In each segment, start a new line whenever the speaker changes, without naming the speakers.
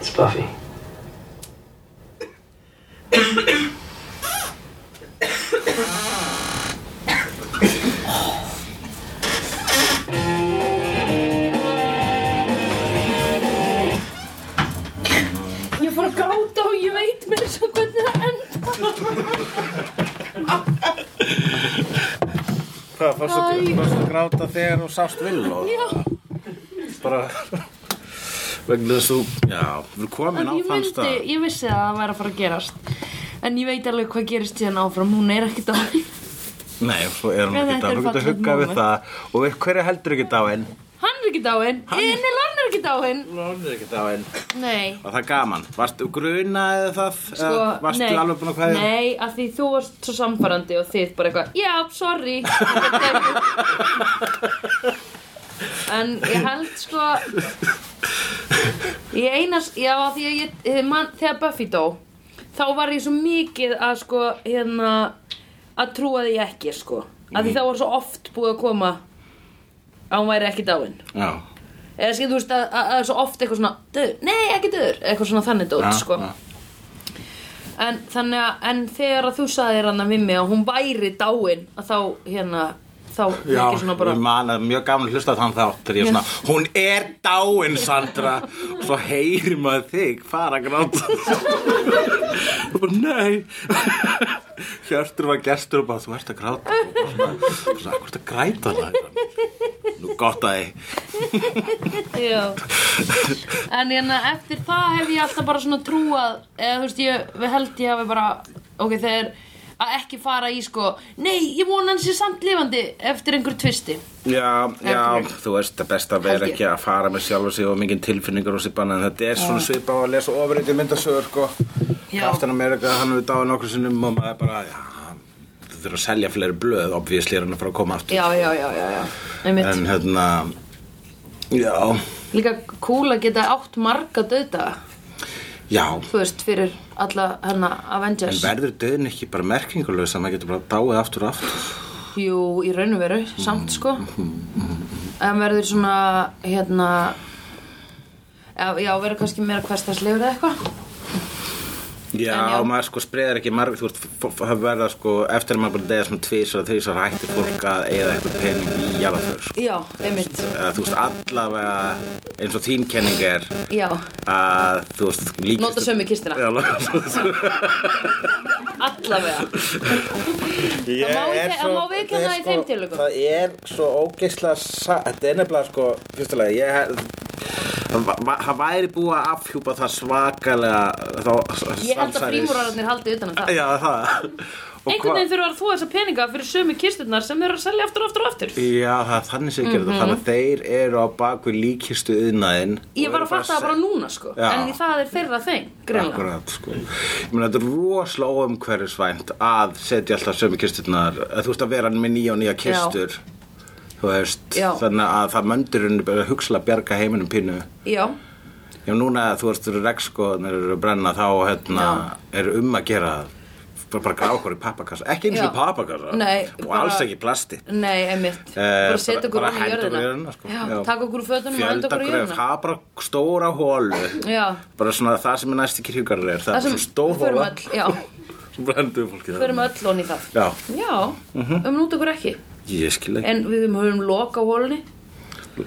Fluffy.
Ég fór að gáta og ég veit mér svo hvernig það enda.
Hvað, fórstu
Æ.
fórstu að gráta þegar þú sást vill og
Já,
bara vegna þess að þú, já, við erum komin á
ég
þann
myndi,
stað
ég vissi að það væri að fara að gerast. En ég veit alveg hvað gerist síðan áfram, hún er ekkert á henni.
Nei, svo er hún
Nei,
ekki
þetta er
dáin, þú getur
fallegt
huggað við
moment.
það og hverju heldur ekki dáin?
Hann er ekki á henni, inni hann er ekki á henni.
Lón er ekki dáin
Nei,
Og það er gaman, varstu grunaði það?
sko,
eða varstu
nei.
alveg búin að hvað
Nei, að því þú varst svo samfarandi og þið bara eitthvað, já, sorry. Þetta er ekki." en ég held sko, ég einast, já, af því að ég, eh, man, þegar Buffy dó, þá var ég svo mikið að sko, hérna, að trúa því ekki, sko. Af
Mhm.
því þá var svo oft búið að koma að hún væri ekki dáin.
Já,
Eða skil, þú veist, að að- að svo oft eitthvað svona, döður, nei, ekki döður, eitthvað svona þannig dót,
já,
sko.
já.
En, þannig að, en þegar að þú saðir hann að við mig að hún væri dáin að þá, hérna, þá
Já,
ekki svona bara
ég man að mjög gaman að hlusta á þann þátt þegar ég
Já.
svona, hún er dáin Sandra og svo heyri maður þig fara að gráta og bara nei Hjörtur var gestur og bara þú ert að gráta og bara svona, og svona, hvað ert að græta það? Nú gott að þið
Já En hérna, eftir það hef ég alltaf bara svona trúað eða þú veist, ég við held ég hafi bara ok, þegar að ekki fara í sko Nei, ég vona hann sé samt lifandi eftir einhver tvisti
Já, já,
Eftir.
þú veist, það besta verð
Held ég.
ekki að fara með sjálfa sig og mikið tilfinningar og sér banna en þetta er svona svipa á að lesa ofriðið myndasögur sko
Já.
Kaftan Amerika, hann hefur dáið nokkru sinnum og maður er bara, já, þú þurfur að selja fleiri blöð, obvíðisli er hann að fara að koma aftur
Já, já, já, já, já Einmitt.
En hérna, já,
Líka cool að geta átt marga döðdaga
já,
Þú veist, fyrir alla hérna
en
Avengers
verður döðin ekki bara merkingulegs að maður getur bara dáið aftur og aftur
Jú, í raun og veru, samt sko En verður svona, hérna Já, já verður kannski meira hverstaslegur eða eitthvað
Já,
En já.
og maður sko spreðar ekki marg, þú veist, f- f- það verða sko, eftir að maður bara deyða svona tvísar að þrísar hættir fólk að eigða eitthvað pening í jarðaför sko.
Já, einmitt
eða Eh, þú veist allavega eins og þín kenning er
Já,
að þú veist líkist
Nota sömu kistina.
Já, nota sömu
allavega
Ég
má í
er
þe-
svo-
það má viðurkenna
þetta er
í þeim
sko-
tilvikum.
Það er svo ógeislega sa- Þetta er nefnilega sko Fyrstulega ég Það va- va- það væri búið að afhjúpa það svakalega þá,
Ég held að
samsæris-
frímúrararnir haldi utan um það
Já það Og
Einhvern
hva-
veginn þurfa að þú þessa peninga fyrir sömu kisturnar sem eru að selja aftur og aftur og aftur
Já, það er þannig sem ég gerði
Mhm.
það. Þannig að þeir eru á bakvið líkistu yðnaðinn.
Ég var að fatta það bara núna sko
Já.
En það er þeirra þeng, greinlega
Akkurat, sko. Ég meina, þetta er rosalega óumhverfisvænt að setja alltaf sömu kisturnar, að þú veist að vera með nýja og nýja kistur, þú veist,
Já.
þannig að það möndurinn bara hugsla að bjarga heiminum pínu.
Já,
Já, núna að þú veist, þú eru rekskoðnir eru að brenna þá, hérna, er um að gera það. Bara, bara gráða okkur í pappakassa, ekki eins og
Já.
pappakassa
Nei,
og
bara-
alls ekki plasti.
nei, einmitt
Eh,
Bara setja okkur
bara
ofan í
henda okkur í
jörðina
jörðina, sko.
Já,
Já.
taka okkur úr fötunum og henda okkur
Fjölda
í
gröf,
jörðina
það er bara stóra hólu.
Já,
Bara svona það sem er næsti kirkjugarður er, það er
það sem
svona stór
förum
hóla
öll- Já,
sem brenduðu fólkið.
förum öll onni í það
Já,
Já,
Mhm.
um nút okkur ekki
ég skil ekki.
En við höfum loka á hólunni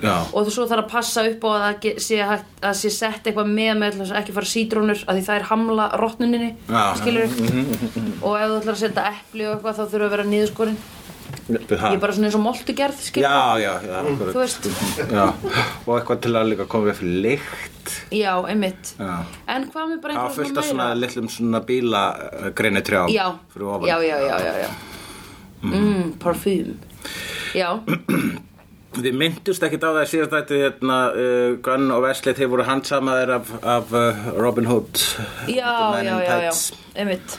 Já.
Og svo þarf að passa upp á að það ge- sé, hægt- að sé sett eitthvað með með þess að ekki fara sítrónur að því það er hamla rottnuninni
Já. Mhm.
skilur og ef þú ætlar að setja epli og eitthvað þá þurfa að vera niðurskorinn ég
Ég
er bara svona eins og moltugerð skilur
Já, já, já,
þú
akkurat.
veist,
já. Og eitthvað til að líka koma við fyrir lykt.
já, einmitt
Já.
en hvað með bara
Það var
einhverjum
fullt af svona litlum svona bíla uh, greini trjám
já.
fyrir ofan. Mhm.
já, já, já, já, já. Mm, parfum já,
Þið myndust ekkit á það síðast þetta hérna uh, Gunn og Wesley þeir voru handsamaðir af, af uh, Robin Hood.
já,
The Man in
já, já, já
Tights.
einmitt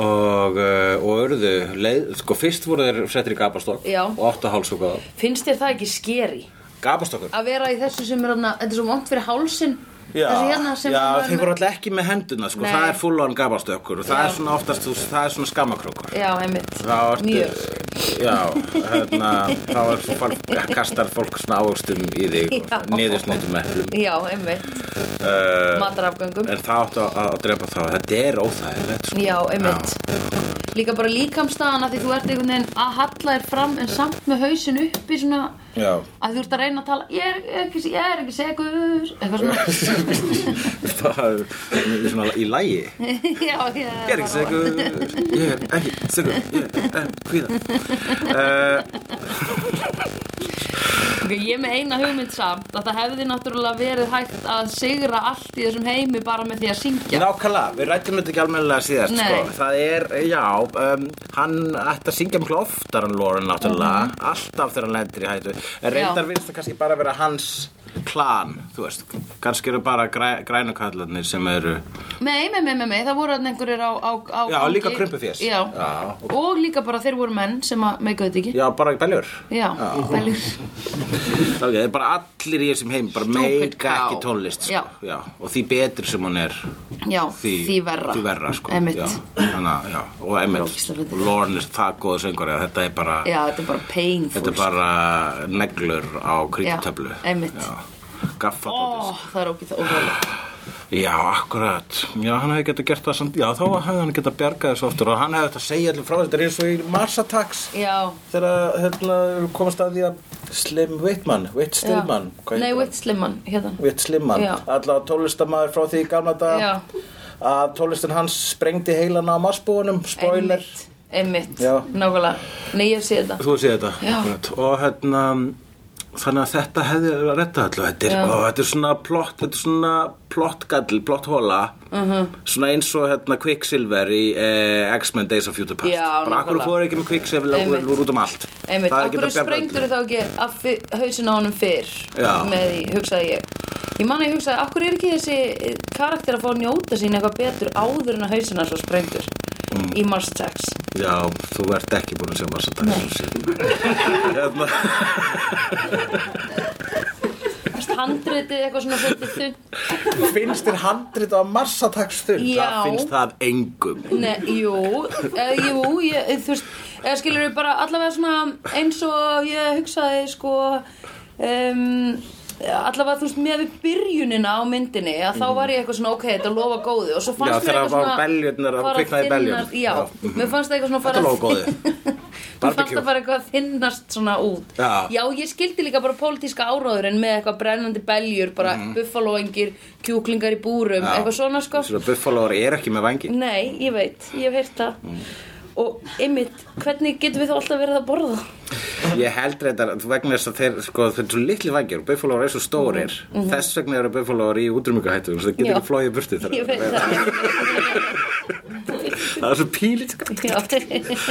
Og, uh, og urðu, leið, sko fyrst voru þeir settir í gapastokk
Já.
og áttu hálsúkaða.
finnst þér það ekki skeri
Gapastokkur?
að vera í þessu sem er þarna, þetta er svo vond fyrir hálsin þessu hérna sem
já
maður-
þeir voru alltaf ekki með henduna sko,
Nei.
það er full on gapastokkur og það
Já.
er svona oftast, þú- það er svona skammakrókur.
Já, einmitt.
Það
Mjög.
ertu, Já, hérna, þá er svo fólk, kastar fólk svona ávöxtum í þig
Já.
og niðursnótum eflum.
Já, einmitt
Uh,
Matarafgöngum
en það áttu að, að drepa þá, þetta er óþægilegt, sko.
Já, einmitt Líka bara líkamstaðan að því þú ert einhvern veginn að halla þér fram en samt með hausin uppi svona
Já,
að þú ert að reyna að tala ég er ekki, ég er ekki segur eitthvað svona
það er svona í lægi.
Já, ég
Ég er ekki segur, ég er ekki segur, ég er hvíða.
Ok, ég er með eina hugmynd samt að það hefði náttúrulega verið hægt að sigra allt í þessum heimi bara með því að syngja
Nákvæmlega, við rættum þetta ekki almennilega síðast,
Nei.
sko. Það er, já, um, hann ætti að syngja mjög oftar en Lauren náttúrulega, alltaf þegar hann lendir í hættu. En reyndar
Mhm. Já.
finnst það kannski bara vera hans klan, þú veist. Kannski eru bara græ, grænukallarnir sem eru,
Nei, nei, nei, nei, nei, það voru þarna einhverjir á, á, á
já,
gangi.
líka krumpufjés.
Já.
já.
og líka bara þeir voru menn sem að meikaðu þetta ekki
Já, bara beljur.
Já, veljur
Það er bara allir í þessum heim, bara
Stupid
meika
cow.
ekki tónlist, sko.
Já.
Og því betur sem hann er,
Já,
því,
því, verra
Því verra, sko.
Einmitt.
Já, þannig að, já, og
Ógeðslega
emitt,
fyndið.
Lauren er það góð söngur, þetta er bara...
Já, þetta er bara painful sko.
Þetta er bara neglur á krítutöflu.
Já, einmitt.
Gaffadóttis.
Ó, það er ógið það ógæðlega
Já, akkurat. Já, hann hefði getað gert það samt. Já, þá hefði hann getað bjargað þessu oftur og hann hefði þetta að segja allir frá þessu. Þetta er eins og í Mars Attacks
Já,
þegar hérna, komast að því að Slim Whitman, Whit
já.
Stillman. hvað heitir
Nei,
hann?
Witt Slimman, hérna
Whit Slimman.
Já.
Alla tólestamæður frá því í gamla
Já.
daga. Að tólestin hans sprengdi heilana á Marsbúunum. Spoiler.
Einmitt, einmitt.
Já.
nákvæmlega Nei, ég sé þetta
Þú sé þetta
Já.
akkurat. og hérna þannig að þetta hefði verið að retta allu þetta er,
Já.
ó, þetta er svona plott þetta er svona plottgall, plotthóla
Mhm.
svona eins og hérna Quicksilver í eh, X-Men Days of Future Past
Já,
bara akkur
nákvæmlega.
fóru ekki með
Einmitt.
Quicksilver úr út um allt
Einmitt,
Það er
af
ekki
hverju
að bjarga
sprengdur
öllu.
þá ekki af fi- hausinn á honum fyrr
Já.
með því, hugsaði ég Ég man að ég hugsaði, af hverju er ekki þessi eh, karakter að fá að njóta sín eitthvað betur áður en að hausinn er svo sprengdur
Mm.
í Mars Attacks
já, þú ert ekki búin að sjá massa dags hérna,
Fast handritið eitthvað svona svolítið þunnt
finnst þér handrit á massa dags þurr það
Já.
finnst það engum
Nei, jú, eða, jú, ég, eh, þú veist, eða skilur við bara allavega svona eins og ég hugsaði, sko, um, allavega þú veist, með við byrjunina á myndinni, að þá var ég eitthvað svona, ok, þetta lofa góðu og svo
Já,
fannst mér
þegar
eitthvað
það
svona...
var beljurnar, það
fara að
kviknaði í beljunum.
þynnast- Já,
Já.
mér fannst það eitthvað svona
þetta
fara
er
að...
góði
Mér fannst
Barbecue.
það bara eitthvað að þynnast svona út
Já.
ég skildi líka bara pólitíska áráður en með eitthvað brennandi beljur, bara
Mhm.
buffaloengir, kjúklingar í búrum, eitthvað svona sko
Svona buffalóar er ekki með vangi
Nei, ég veit, ég hef heyrt það
Mm.
Og ymmit, hvernig getum við þá alltaf verið að borða?
Ég held reyndar vegna þess að þeir, sko, þeir eru svo litli vangir og buffalóar eru svo stórir þess vegna eru buffalóar í útrýmingahættu þannig að það getur
Mhm. Já.
ekki flóið í burti þegar
Ég veit
þeir-
það
það er svo sko. pílit
Já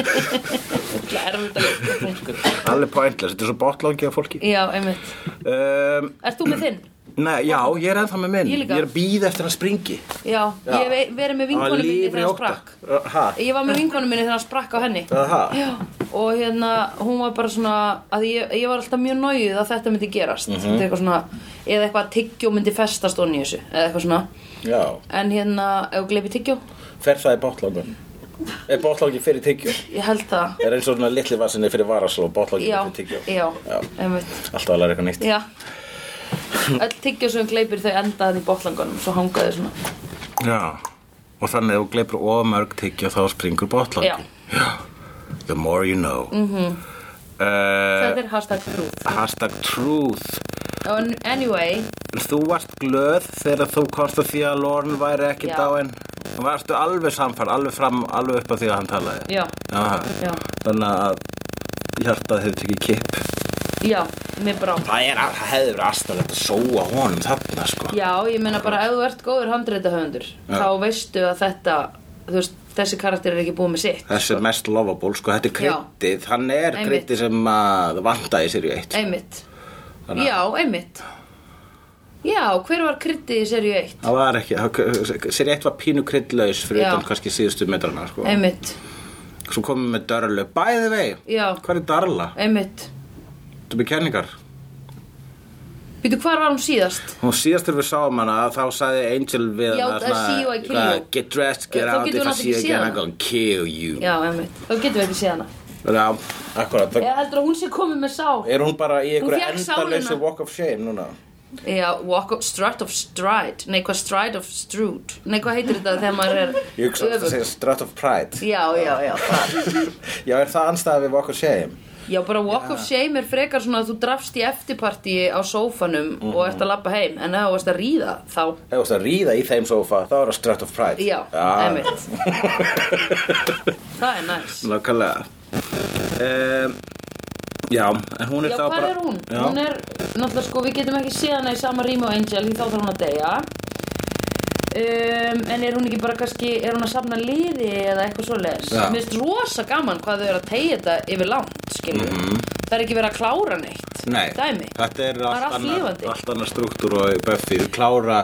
Það er erfitt að leika.
alveg pointless, þetta er svo botlangi af fólki
Já, ymmit
um,
Ert þú með þinn?
Nei, já, ég er ennþá með minn
Ég
ég,
líka.
er að býða eftir að hann springi
Já,
Já.
ég hef verið með
Hann
vinkonu minni
lifir í
þegar hann
ótta.
sprakk
Ha?
Ég var með vinkonu minni þegar hann sprakk á henni
Aha.
Já, og hérna hún var bara svona að ég, ég var alltaf mjög nájuð að þetta myndi gerast
Mhm.
mm eitthvað svona, eða eitthvað að tyggjó myndi festast onni í þessu, eða eitthvað svona
Já,
en hérna, ef þú gleipi tyggjó
fer það í botlangun Er botlangi fyrir tyggjó?
ég held það
Er eins og svona litli vasinni fyrir varasl og botlangi
já,
fyrir tyggjó?
já,
Já.
einmitt
Alltaf að læra eitthvað nýtt
já. öll tyggjó sem gleipir þau endaði í botlangunum svo hangaði svona
Já, og þannig að þú gleipur ofamörg tyggja þá springur botlangi.
Já. Mhm.
The more you know. Mm -hmm. eh,
þetta er hashtag truth
hashtag truth.
En- anyway,
Þú varst glöð þegar þú komst að því að Lorne væri ekki
Já.
dáinn. Varstu alveg samfær, alveg fram, alveg upp á því að hann talaði.
já,
Aha.
Já.
Þannig að hjartað hefði tekið kipp.
já mér brá
Það, er, það hefði verið aðstæðilegt að sóa honum þarna, sko.
já, ég meina bara ef þú ert góður handreitahöfundur þá veistu að þetta þú veist, þessi karakter er ekki búið með sitt
Þessi er mest lovable, sko, þetta er
Já.
kryddið, hann er
Einmitt.
kryddið sem að vanda í sér í eitt.
einmitt,
Þannig að-
já, einmitt já, hver var kryddið í serju 1
Það var ekki, sér eitt var pínu kryddlaus fyrir
Já.
utan kannski síðustu metrana sko.
einmitt,
Svo komum við með Darla, by the way,
Já.
hvað er Darla?
einmitt
Þú með kenningar?
býtu, hvar var hún síðast?
Og síðast þegar við sáum hana þá sagði Angel við
Já,
hana
I see you, I kill you.
Get dressed, get
Þá
out,
getur
if
hún
I
átt
see you
ekki séð
again I'm
hana.
gonna kill you
Já, einmitt. Þá getum við ekki séð hana.
Þannig að, akkurat, það,
Eða heldur að hún sé komið með sál
er hún bara í einhverju
fékk
endaleysi
sálina.
walk of shame núna?
Já, walk of, strut of stride Nei, hvað stride of strud Nei, hvað heitir þetta þegar maður er
Ég hugsa að það
öfugt?
segja strut of pride.
Já, já, já, það
Já, er það anstæða við walk of shame?
Já, bara walk of shame er frekar svona að þú drafst í eftirparti á sófanum og ert að labba heim en ef þú varst að ríða þá
Ef þú veist að ríða í þeim sofa, þá er það strut of pride.
Já, einmitt Það er næs
Nákvæmlega. Um, já, en hún er
Já,
þá
hvað
bara...
er hún?
Já.
Hún er, náttúrulega sko, við getum ekki séð hana í sama rými og Angel því þá þarf hún að deyja um, En er hún ekki bara kannski, er hún að safna liði eða eitthvað svoleiðis?
Já.
Mér finnst rosa gaman hvað þau eru að tegja þetta yfir langt, skilju Það er ekki verið að klára neitt
Nei,
Dæmi
þetta er
Það er
allt
allt
annað,
lifandi.
allt annað struktúr og Buffy, þau klára,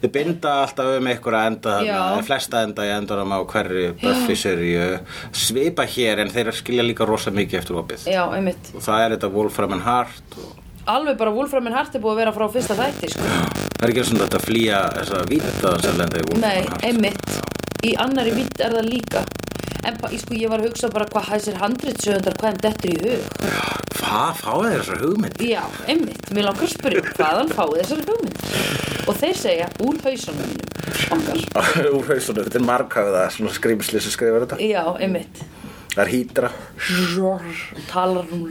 þau binda alltaf um einhverja enda þarna,
Já.
eða flesta enda í endunum á hverri Buffy seríu, svipa hér en þeir skilja líka rosa mikið eftir opið.
Já, einmitt
Og það er þetta Wolfram and Heart og
Alveg bara Wolfram and Hart er búið að vera frá fyrsta þætti, sko
það er ekki svona þetta að flýja þessa víta sem lenda í Wolfram
Nei,
and Heart.
einmitt Í annari vitt er það líka En ba- sko, ég var að hugsa bara hvað hæsir handritsöðundar hvað þeim dettur í hug
Hvað fáið þér þessar hugmynd?
Já, einmitt, mér langar að spyrja hvaðan fáið þessari hugmynd og þeir segja úr hausunum mínum okkar
Úr hausunum, þetta er marghafða, svona skrýmsli sem skrifar þetta.
Já, einmitt
Það er hýdra.
talar um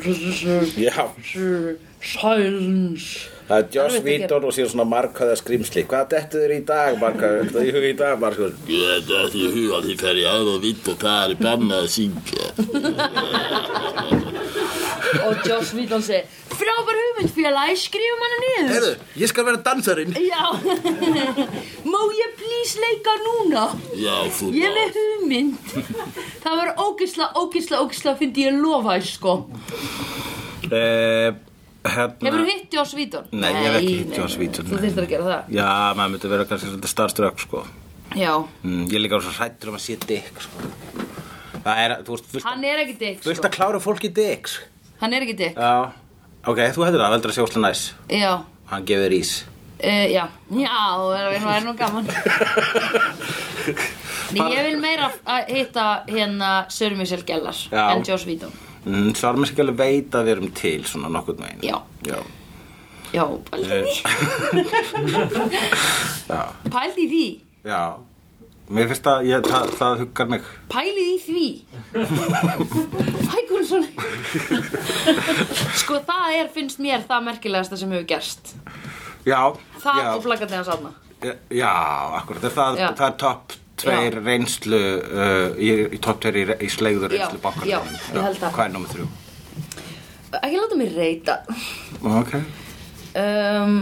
Já,
silence
það er Joss
Erfitt að gera.
Vítor og síðan svona marghafða skrýmsli. Hvað dettu þér í dag, marghafða? Þetta er í hug í dag, marghafða.
Ég dætti í hug að þið fer í aðra vitt og það er bannað að syngja.
og Joss Whedon segir frábær hugmynd félagi, skrifum hana niður
Heyrðu, ég skal vera dansarinn
Já Má ég please leika núna?
Já, þú
Ég er með hugmynd Það var ógisla, ógisla, ógisla fyndi ég lofa þér sko
uh, Hérna
Hefur þú hitt Joss Whedon?
Nei, ég hef ekki hitt
nei,
Joss
nei.
Whedon,
Þú
nei.
þurftir að gera það
Já, maður myndi vera kannski svolítið starstruck sko
Já,
mm, Ég er líka svo hrættur um að sé dick sko Það er, þú veist, fullt,
hann er ekki dick sko.
fullt að klára fólki dicks
Hann er ekki dick
Já Ok, þú hefur það, veldur að sé óslega næs
Já,
Hann gefur ís
uh, já, já, það er nú, er nú gaman Nei, ég vil meira að hitta hérna Sir Michelle Gellar
Já.
en Joss Whedon
mm, Svo er mér sér alveg veit að við erum til svona nokkurn veginn
Já.
Já,
Já,
Eh.
pældi í því Pældi
já,
í því
já. Mér finnst að ég, það, það huggar mig
Pælið í því Hækur svona Sko það er finnst mér það merkilegasta sem hefur gerst
Já
Það
já.
og flaggandi hans aðna
Já, akkurat, er það,
Já.
það er topp tveir
Já.
reynslu uh, í, í topp tveir í, re- í slegður
Já,
reynslu bankarnir
já, ég held það.
Hvað er nómið þrjú?
Ekki láta mig reyta
Ok
um,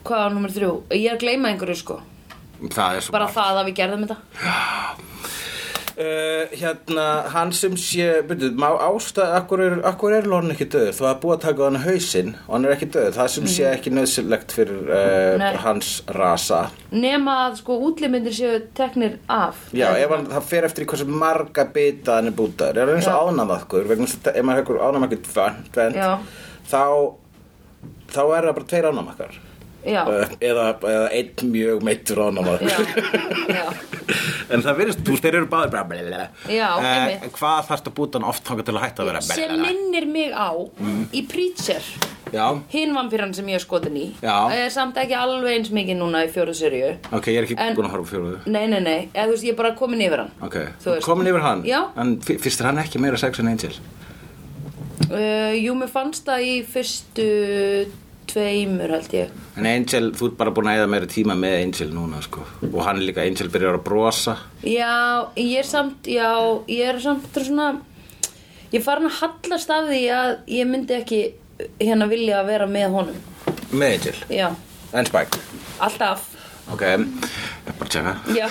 Hvað var nummer þrjú? Ég er að gleyma einhverju sko
Það er svo
Bara
margt.
það að við gerðum þetta
uh, Hérna, hann sem sé, byrjuð, má ástæða Akkur er, akkur er Lorne ekki döð? Þú hafði búið að taka á hann hausinn og hann er ekki döð Það sem sé ekki nöðsilegt fyrir
Mhm. Nei.
uh, hans rasa
Nema að sko útlimindir séu teknir af
Já, ef hann, það fer eftir í hversu marga bita hann er bútaður. Er hann eins og
Já.
ánamaðkur, vegna þess að ef maður hefur ánamakur tvönd,
Já.
þá, þá er það bara tveir ánamakar.
Já,
Eða, eða einn mjög meittur
já,
ánamakur.
já
en það verðist, þú veist, þeir eru báðir bara blablabla.
Já,
Eh,
einmitt.
Hvað þarfst að búta hann oft þangað til að hætta að vera
Sem
blablabla?
minnir mig á Í Preacher
Já,
Hinn vampýran sem ég er skotin í
Já.
er Samt ekki alveg eins mikið núna í fjóruð serju
ok, ég er ekki
En-
búin að horfa á fjóruðu.
Nei, nei, nei, eða þú veist, ég er bara komin yfir hann
Ok,
Þú veist.
komin yfir hann,
Já.
en fi- finnst þér hann ekki meira sex en Angel?
uh, Jú, mér fannst það í fyrstu tveimur held ég
En Angel, þú ert bara búin að eða meira tíma með Angel núna, sko. Og hann líka, Angel byrjar að brosa.
Já, ég er samt, já, ég er samt svona Ég er farin að hallast af því að ég myndi ekki hérna vilja að vera með honum
Með Angel.
Já,
En Spike
alltaf
Ok, ég er bara að tjekka
Já,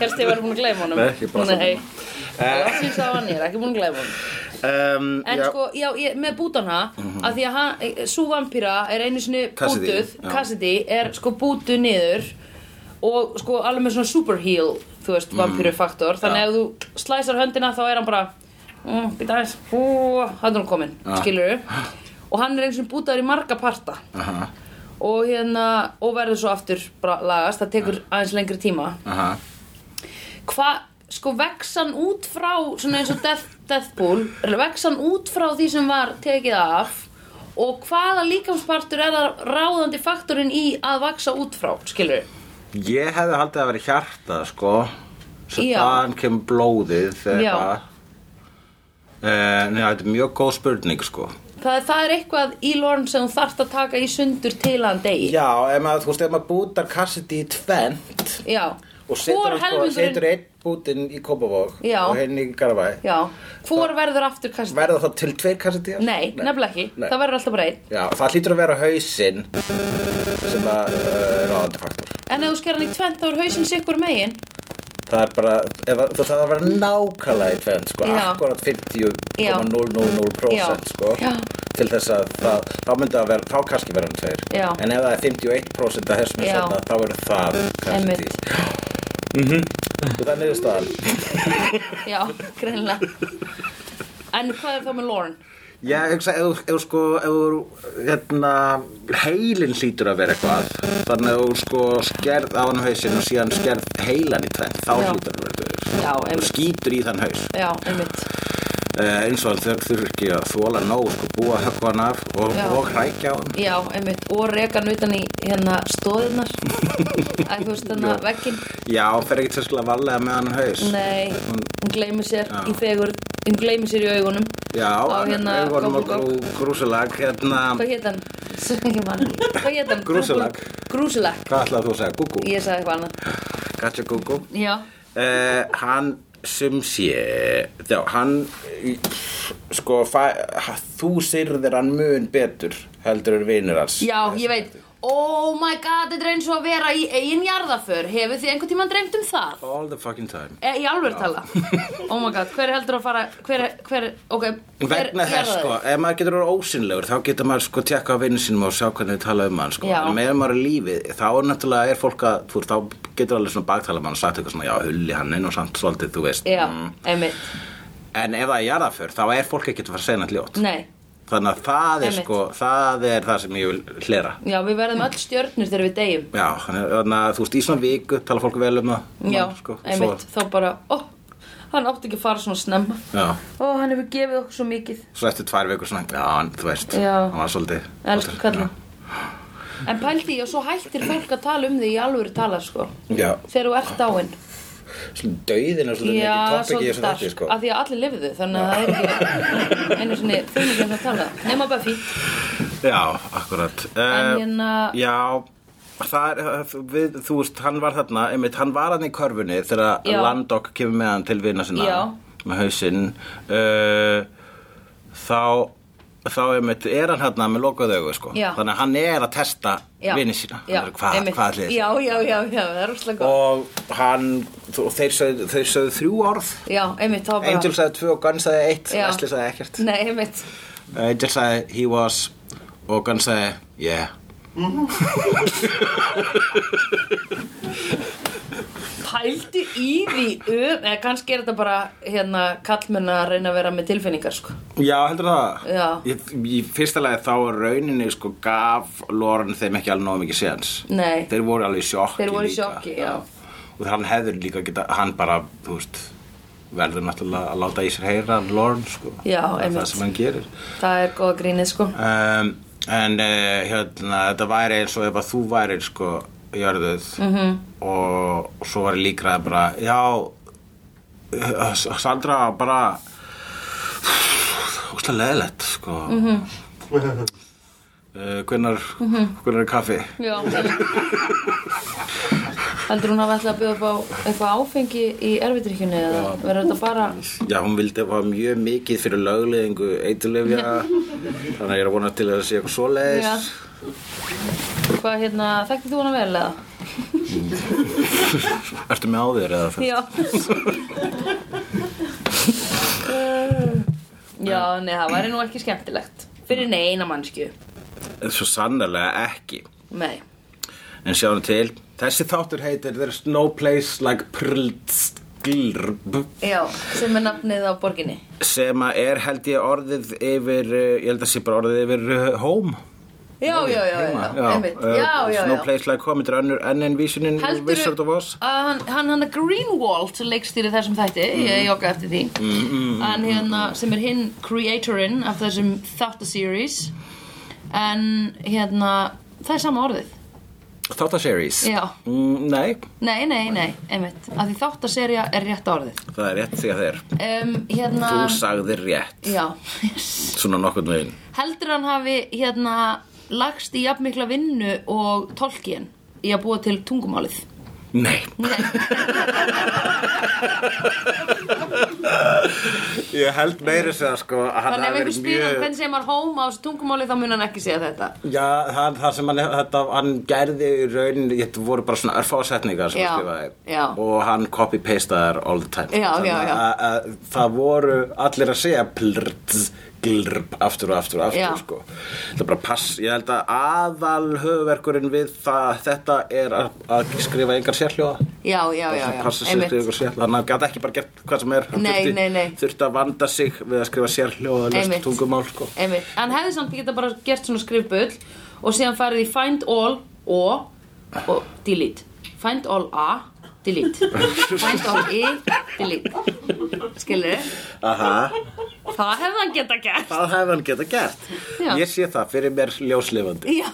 hérst ég var búin að gleyma honum
Nei, ég bara-
Nei, það syns að hann ég er ekki búin að gleyma honum
um,
En sko, já, ég, með bútana mm að því að hann, sú vampíra er einu sinni
Mhm. Cassidy,
bútuð,
já.
Cassidy er sko bútuð niður og sko alveg með svona super heal, þú veist, vampírufaktor þannig
Mhm. Já.
að ef þú slæsar höndina þá er hann bara mm, býta aðeins, hú, hann er hann kominn,
Já.
skilur og hann er einu sinni bútaður í marga parta
Aha,
og hérna, og verður svo aftur bara lagast, það tekur aðeins lengri tíma
aha
hvað sko vexan út frá svona eins og Death, Deathpool vexan út frá því sem var tekið af og hvaða líkamspartur er það ráðandi faktorinn í að vaksa út frá, skilur
Ég hefði haldið að vera hjarta, sko. Svo
Já.
þaðan kemur blóðið
Já.
eða hvað. Uh, nei, þetta er mjög góð spurning, sko.
það, það er eitthvað í lorn sem þú þarft að taka í sundur til að hann degi
Já, ef maður, þú veist, ef maður bútar kassiti í tvent
Já.
og setur,
Hvor
hann sko,
helmingurinn-
setur einn bútinn í Kópavog
Já.
og hinn í Garabæ
Já, hvor verður aftur kastin?
verða þá til tveir kassetíjar?
Nei, nefnilega ekki,
Nei.
það verður alltaf bara einn
Já, það hlýtur að vera hausinn sem að uh, ráðandi faktor
En ef þú sker hann í tvent þá er hausinn sikkur megin
það er bara, ef, að- þú þarf að vera nákvæmlega í tvend sko,
Já.
akkurat
Já.
50,000%
Já.
sko
Já.
til þess að það, þá myndi að vera, þá kannski vera hann tveir
Já.
en ef það er 51% að þessum er
Já.
þarna, þá verður það
Einmitt.
kassetíj mm -hmm. og það er niðurstaðan
Já, greinlega En hvað er þá með Lorne?
Ég hugsa, ef, þú- ef sko, ef þú, hérna, heilin hlýtur að vera eitthvað, þannig að ef þú sko skerð á hann hausinn og síðan skerð heilan í tvent, þá
Já.
hlýtur að vera eitthvað.
Já,
Þú
einmitt
skýtur í þann haus,
Já, einmitt
uh, eins og hann þurfur þurf ekki að þóla nóg, sko, búa að höggva hann af og,
Já.
og hrækja á hann.
Já, einmitt, og rekan utan í hérna stóðirnar Æ, þú veist hérna vegginn
Já, hann fer ekki til að varlega með hann haus.
Nei, hún gleymir sér í fegur Hún gleymir sér í augunum
Já,
Á
hann
hérna
er vorum á
Gogg og Gogg.
grú, grúsulag, hérna,
Hvað hétt hann? Svo ekki mann Hvað hétt hann?
Grúsulag.
Grúsulag
hvað ætlaði þú að segja, gúgú,
Ég sagði eitthvað annað
gotcha gúgú.
Já,
Uh, hann sem sé já, hann í- sko, fæ, ha- þú syrðir hann mun betur heldur en vinur hans
já, ég veit Oh my god, þetta er eins og að vera í eigin jarðaför Hefur þið einhvern tímann dreymt um það?
all the fucking time
E, í alveg tala Oh my god, hver heldur að fara Hver, hver, ok hver
vegna þess
jarðaði?
sko, ef maður getur verið ósynlegur þá getur maður sko tjekka á vinnu sínum og sjá hvernig við tala um hann sko,
Já.
en meðan maður er lífið þá er náttúrulega er fólk að, þú, veist, þá getur alveg svona baktala mann og sagt eitthvað svona, já, hulli hann inn og samt svolítið, þú veist
Já,
Mm.
einmitt,
en ef það er jarðaför, þá er fólk ekki að fara að segna hljótt
nei
þannig að það er
Einmitt.
sko, það er það sem ég vil hlera
Já, við verðum öll stjörnur þegar við deyjum
Já, þannig þannig að þú veist, í svona viku tala fólk vel um það
Já,
Mann, sko,
einmitt,
svo,
þá bara Ó, hann átti ekki að fara svona snemma
Já,
Ó, hann hefur gefið okkur svo mikið
svo eftir tvær vikur svona Já, hann, þú veist,
Já.
hann var svolítið
Elsku kallinn En pældi ég og svo hættir fólk að tala um því í alvöru tala sko
já,
Þegar þú ert dáinn
svona döiðin er svolítið mikið
Já,
topic í
svolítið
þessu
dark
þætti sko.
Af því að allir lifðu þannig að það er ekki Einu sinni, þú er ekki að tala Nefna Buffy
Já, akkurat
En
Eh,
hérna-
Já, það er, eh, við, þú veist, hann var þarna einmitt, hann var hann í körfunni þegar
Já.
Landok kemur með hann til vina sinna
Já.
með hausinn uh, þá þá einmitt, er hann hann með lokað augu sko.
Já.
þannig að hann er að testa vini sína
já,
Hann er, hvað,
einmitt.
hvað ætli þessi
Já, já, já, já, það er rústlega góð
og hann
Þú- Þeir sögðu, þeir sögðu þrjú orð
Já, einmitt, þá bara
Angel sagði tvö og Gunn sagði eitt
Já.
Leslie sagði ekkert
Nei, einmitt
Angel sagði he was og Gunn sagði yeah
Pældu í því um Eða kannski er þetta bara, hérna, kallmenn að reyna að vera með tilfinningar, sko
Já, heldur það?
Já.
Ég, í fyrsta lagi þá er rauninni sko gaf Loren þeim ekki alveg nóg mikið séns
Nei.
Þeir voru alveg í sjokki
Þeir voru í
líka.
sjokki, já.
Og hann hefur líka geta, hann bara, þú veist verður náttúrulega að láta í sér heyra Loren sko
Já,
Það er
einmitt.
Það sem hann gerir
Það er góða grínið, sko
um, En uh, hérna, þetta væri eins og ef að þú væri sko jörðuð -hmm. og, og svo var líkraði bara Já, eh, Sandra bara úslega leðilegt sko mm -hmm. hvenar, hvenar er kaffi
Já Heldur hún hafa ætlað að bjóða upp á eitthvað áfengi í erfidrykkjunni eða verður þetta bara
já hún vildi að hafa mjög mikið fyrir lögleðingu eitulefja þannig að ég er að vona til að það sé eitthvað svoleiðis
Já. Hvað hérna, þekktir þú hana vel eða?
ertu með á þér eða það
Já Já, nei, það væri nú ekki skemmtilegt Fyrir neina mannsku
svo sannlega ekki
Nei
en sjáum til þessi þáttur heitir there's no place like prldsglrb
Já, sem er nafnið á borginni
sem að er held ég orðið yfir eh, ég held að sé bara orðið yfir eh, home
já, já, já, já, einmitt
eh,
já, já,
No
já
Place Like Home, þetta er önnur enn en vísunin úr Wizard of Oz
að hann, hann, hann Greenwald sem leikstýri þessum þætti, ég jogga eftir því mm, en hérna sem er hinn creatorinn af þessum þáttaseries en hérna það er sama orðið
Þáttaseries
já,
mm, Nei,
nei, nei, nei, einmitt af því þáttaserja er rétt orðið
það er rétt því að þeir
um, hérna
Þú sagðir rétt,
já, yes
svona nokkurn veginn
heldur hann hafi hérna lagst í jafn mikla vinnu og tolkien í að búa til tungumálið
Nei,
Ég held meiri sér sko að
þannig ef
hann hafi
einhver
verið
spyr um hann
mjög
hvernig segir maður home á þessu tungumáli þá mun hann ekki segja þetta
Já, hann, það sem hann, þetta, hann gerði í rauninni, þetta voru bara svona örfásetningar sem
Já,
hann skrifaði
já.
og hann copy-pastaði all the time
Já,
Þannig
já, já.
Að, að, það voru allir að segja plrrt, glrp, aftur og aftur og aftur
Já.
sko. það bara pass, ég held að aðal höfverkurinn við það, þetta er að, að skrifa engar sérhljóða
já, já, já,
Það
já,
passa sér til
einmitt
ykkur sérhljóða hann gæti ekki bara gert hvað sem er Hann
Nei,
þurfti-
nei, nei.
þurfti að vanda sig við að skrifa sérhljóða
Einmitt.
löst tungumál sko.
einmitt, hann hefði samt geta bara gert svona skrifbull og síðan farið í find all og, og delete find all a, delete find all e, delete skilur
Aha.
það hefði hann geta gert
Það hefði hann geta gert
Já.
Ég sé það fyrir mér ljóslifandi
já,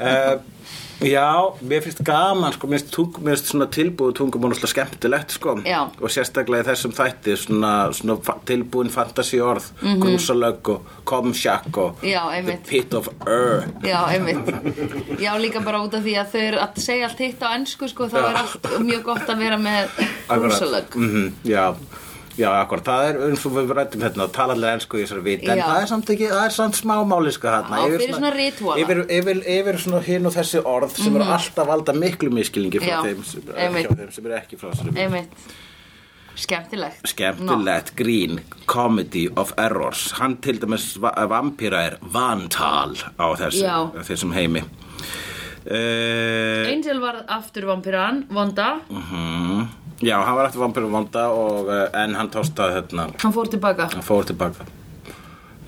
uh, Já, mér finnst gaman sko, mér finnst, tung, mér finnst svona tilbúið tungumál og skemmtilegt sko
Já.
og sérstaklega í þessum þætti svona, svona fa- tilbúin fantasy orð mm -hmm. grúsalögg og komsjakk og
Mhm. Já,
the
einmitt.
pit of ur
já, einmitt já, líka bara út af því að þau eru að segja allt hitt á ennsku sko, þá er allt mjög gott að vera með húsalögg
mm Já Já, akkur, það er eins og við rættum hérna að tala allir ensku í þessari viti, en
Já.
það er samt ekki, það er samt smá máliska hérna.
Já, fyrir svona ritúala.
Yfir, yfir, yfir svona hinn og þessi orð sem eru alltaf valda miklu miskilningi frá
Já,
þeim sem,
einmitt.
hjá þeim sem eru ekki frá þessari viti.
einmitt skemmtilegt
Skemmtilegt, grín, comedy of errors, hann til dæmis va- vampíra er vantal á þessu,
Já.
þessum heimi. Uh,
Angel var aftur vampirann, vonda
mhm. já, hann var eftir vampíra vonda og, eh, en hann tóstaði hérna,
hann fór tilbaka
hann fór tilbaka.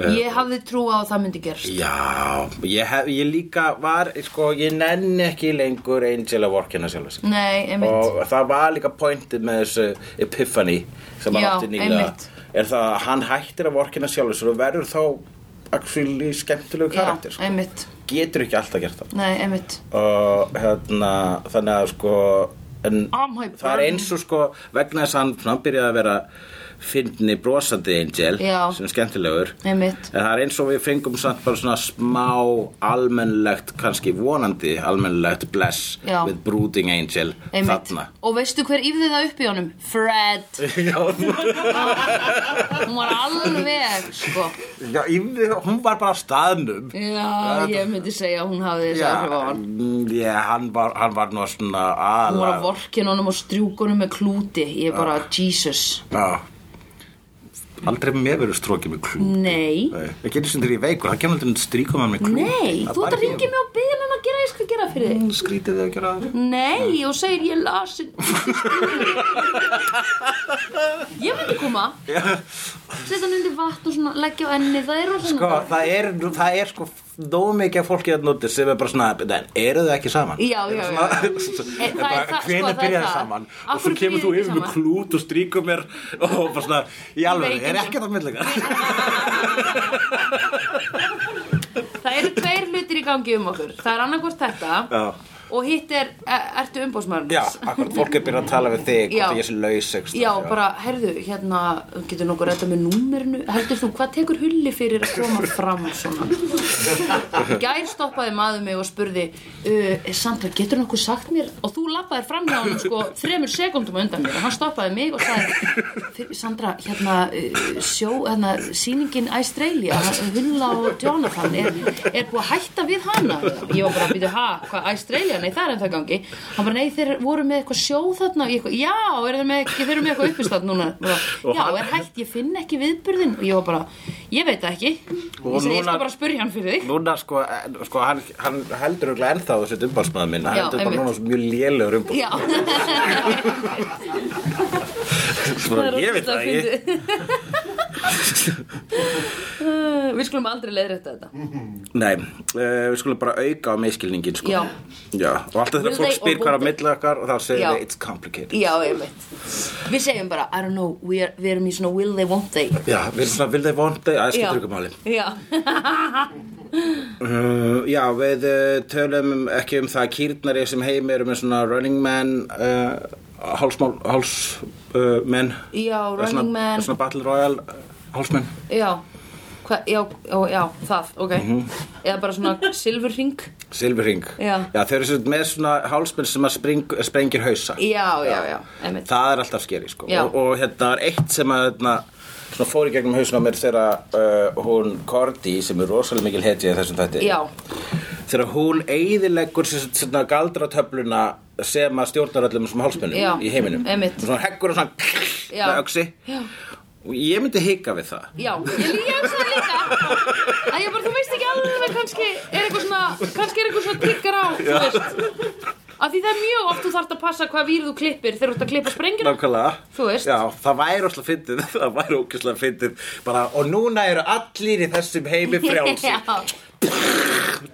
ég hafði trú á að það myndi gerst
Já, ég, hef, ég líka var, sko, ég nenni ekki lengur Angel að vorkina sjálf sig.
nei, einmitt
Og það var líka pointið með þessu epiphany sem hann
Já,
átti nýlega.
einmitt.
Er það að hann hættir að vorkina sjálf sig og verður þá actually skemmtilegu
já,
karakter, sko.
einmitt
Getur ekki alltaf gert það.
nei, einmitt
Og hérna, þannig að sko, en
Oh my
það er
God.
eins og sko, vegna þess að hann, hann byrjaði að vera fyndni brosandi Angel
Já.
sem er skemmtilegur.
einmitt
En það er eins og við fengum samt bara svona smá almennlegt, kannski vonandi almennlegt bless
Já.
with brooding angel
Einmitt.
þarna.
Og veistu hver yfði það upp í honum? Fred Hún var alveg sko.
Já, yfir, hún var bara á staðnum.
Já, ég myndi segja að hún hafði þessi áhrif á hann
mm, já, hann var, hann var nú svona
Hún var
aðla.
að vorkin honum og strjúkunum með klúti Ég er bara, Jesus
Já. Aldrei mér verið strókið með klú.
Nei,
Nei, Ekki eins og þegar ég er veikur, það kemur aldrei að stríka með með klú.
nei, þú ert að ringja mig og byggja hann að gera, ég skal gera fyrir þig
Skrítið þau að gera það.
Nei, og segir ég las Ég myndi koma Sett hann undir vatn og svona leggja á enni Það er rosa
Sko,
notalegt.
það er, það er sko nóg mikið af fólki að núti sem er bara svona, "En eru þau ekki saman?
Já, já, já, já. Eh,
já.
það er það- sko,
Hvenær
það er
byrjaði
það.
saman?
Af
Og svo
hverju
kemur þú
byrjuðu
yfir
ekki
með
saman?
klút og stríkur mér og bara svona, í alveg, er
veikinda.
ekki það millega?
Það eru tveir hlutir í gangi um okkur Það er annarkvort þetta
Já.
Og hitt er, e- ertu umbóðsmaður
Já, akkur, fólk er byrjað að tala við þig
Já.
og ég sé laus ekstra.
Já, bara, heyrðu, hérna, getur nokkur rætta með númerinu? Heldur þú, hvað tekur hulli fyrir að koma fram svona? Í Gær stoppaði maður mig og spurði, uh, Sandra, getur nokkur sagt mér? Og þú lappaði fram hjá hann, sko, þremur sekundum á undan mér. Og hann stoppaði mig og sagði, "Fyr- Sandra, hérna, uh, sjó, hérna, sýningin Australia, Hulla og Jonathan, er, er búið að hætta við hana? Ég var bara að býta, ha, hvað, Australia? Nei, það er ennþá í gangi. Hann bara, nei, þeir voru með eitthvað sjó þarna, og ég, eitthvað, já, er þeir með, þeir eru með eitthvað uppistand núna. Bara, Já, er hætt, ég finn ekki viðburðin. Og ég var bara, ég veit það ekki. Ég
Og
segi, ég
núna-
skal bara spurja hann fyrir þig.
Núna, sko, eh, sko hann, hann heldur örugglega ennþá þessi umbásmaður minn, hann
Já,
heldur bara
einmitt.
núna svo mjög lélegur umbásmaður.
Já
Sko, Ég veit það, ég,
Uh, Við skulum aldrei leiðrætta þetta
Nei, uh, við skulum bara auka á miskilningin sko.
Já.
Já, Og alltaf
Will
þegar fólk
they
spyr
or
hvað er á
won't they?
milli okkar og þá segir
Já.
þau it's complicated
Já, ég veit Við segjum bara, I don't know, við er, við erum í svona will they, won't they
Já, við erum svona, vil þeir vondi að
Já.
skiptur ykkur máli
Já,
Uh, já, við uh, tölum um- ekki um það að kýrnar í þessum heimi eru með svona running man uh, hálsmál, hálsmenn uh,
já, running man
Svona battle royale uh, hálsmenn
Já, Hva, já, já, já, það, ok
Mhm.
Eða bara svona silfurring
Silfurring
Já.
já, þau eru sem sagt með svona hálsmenn sem að spring, sprengir hausa
Já, já, já, einmitt
Það er alltaf skeri sko
Já.
og, og hérna var eitt sem að hérna, svona fór í gegnum hausna á mér þegar uh, hún Cordy sem er rosalega mikil hetja í þessum þætti
Já,
þegar hún eyðileggur sem sagt svona galdratöfluna sem að stjórnar öllum þessum hálsmennum
Já,
í heiminum
einmitt.
svona heggur og svona
Já.
með öxi
Já.
og ég myndi hika við það
já, ég líka að það líka að ég bara, þú veist ekki alveg kannski er eitthvað svona, kannski er eitthvað svona tiggar á, þú veist af því það er mjög oft þú þarft að passa hvað vír þú klippir þegar þú ert að klippa sprengjuna
Nákvæmlega
Þú veist.
Já, það væri óslega fyndið Það væri óslega fyndið bara, Og núna eru allir í þessum heimi frjálsi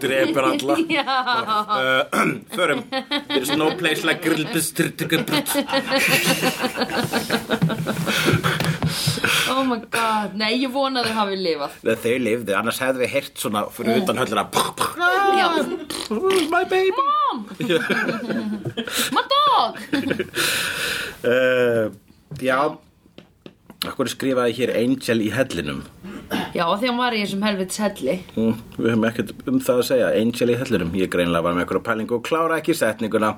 Drepur alla
Já,
uh, Förum There's no place like grillbistur
oh my god Nei, ég vona að þau hafi lifað
Þau lifðu, annars hefðu við heyrt svona Fyrir utan höllina
Mm. Já,
My baby
mom My dog
uh, Já Akkur skrifaði hér Angel í hellinum
Já, af því hann var í þessum helvits helli
mm, Við höfum ekkert um það að segja Angel í hellinum, ég greinlega var með einhverja pælingu Og klára ekki setninguna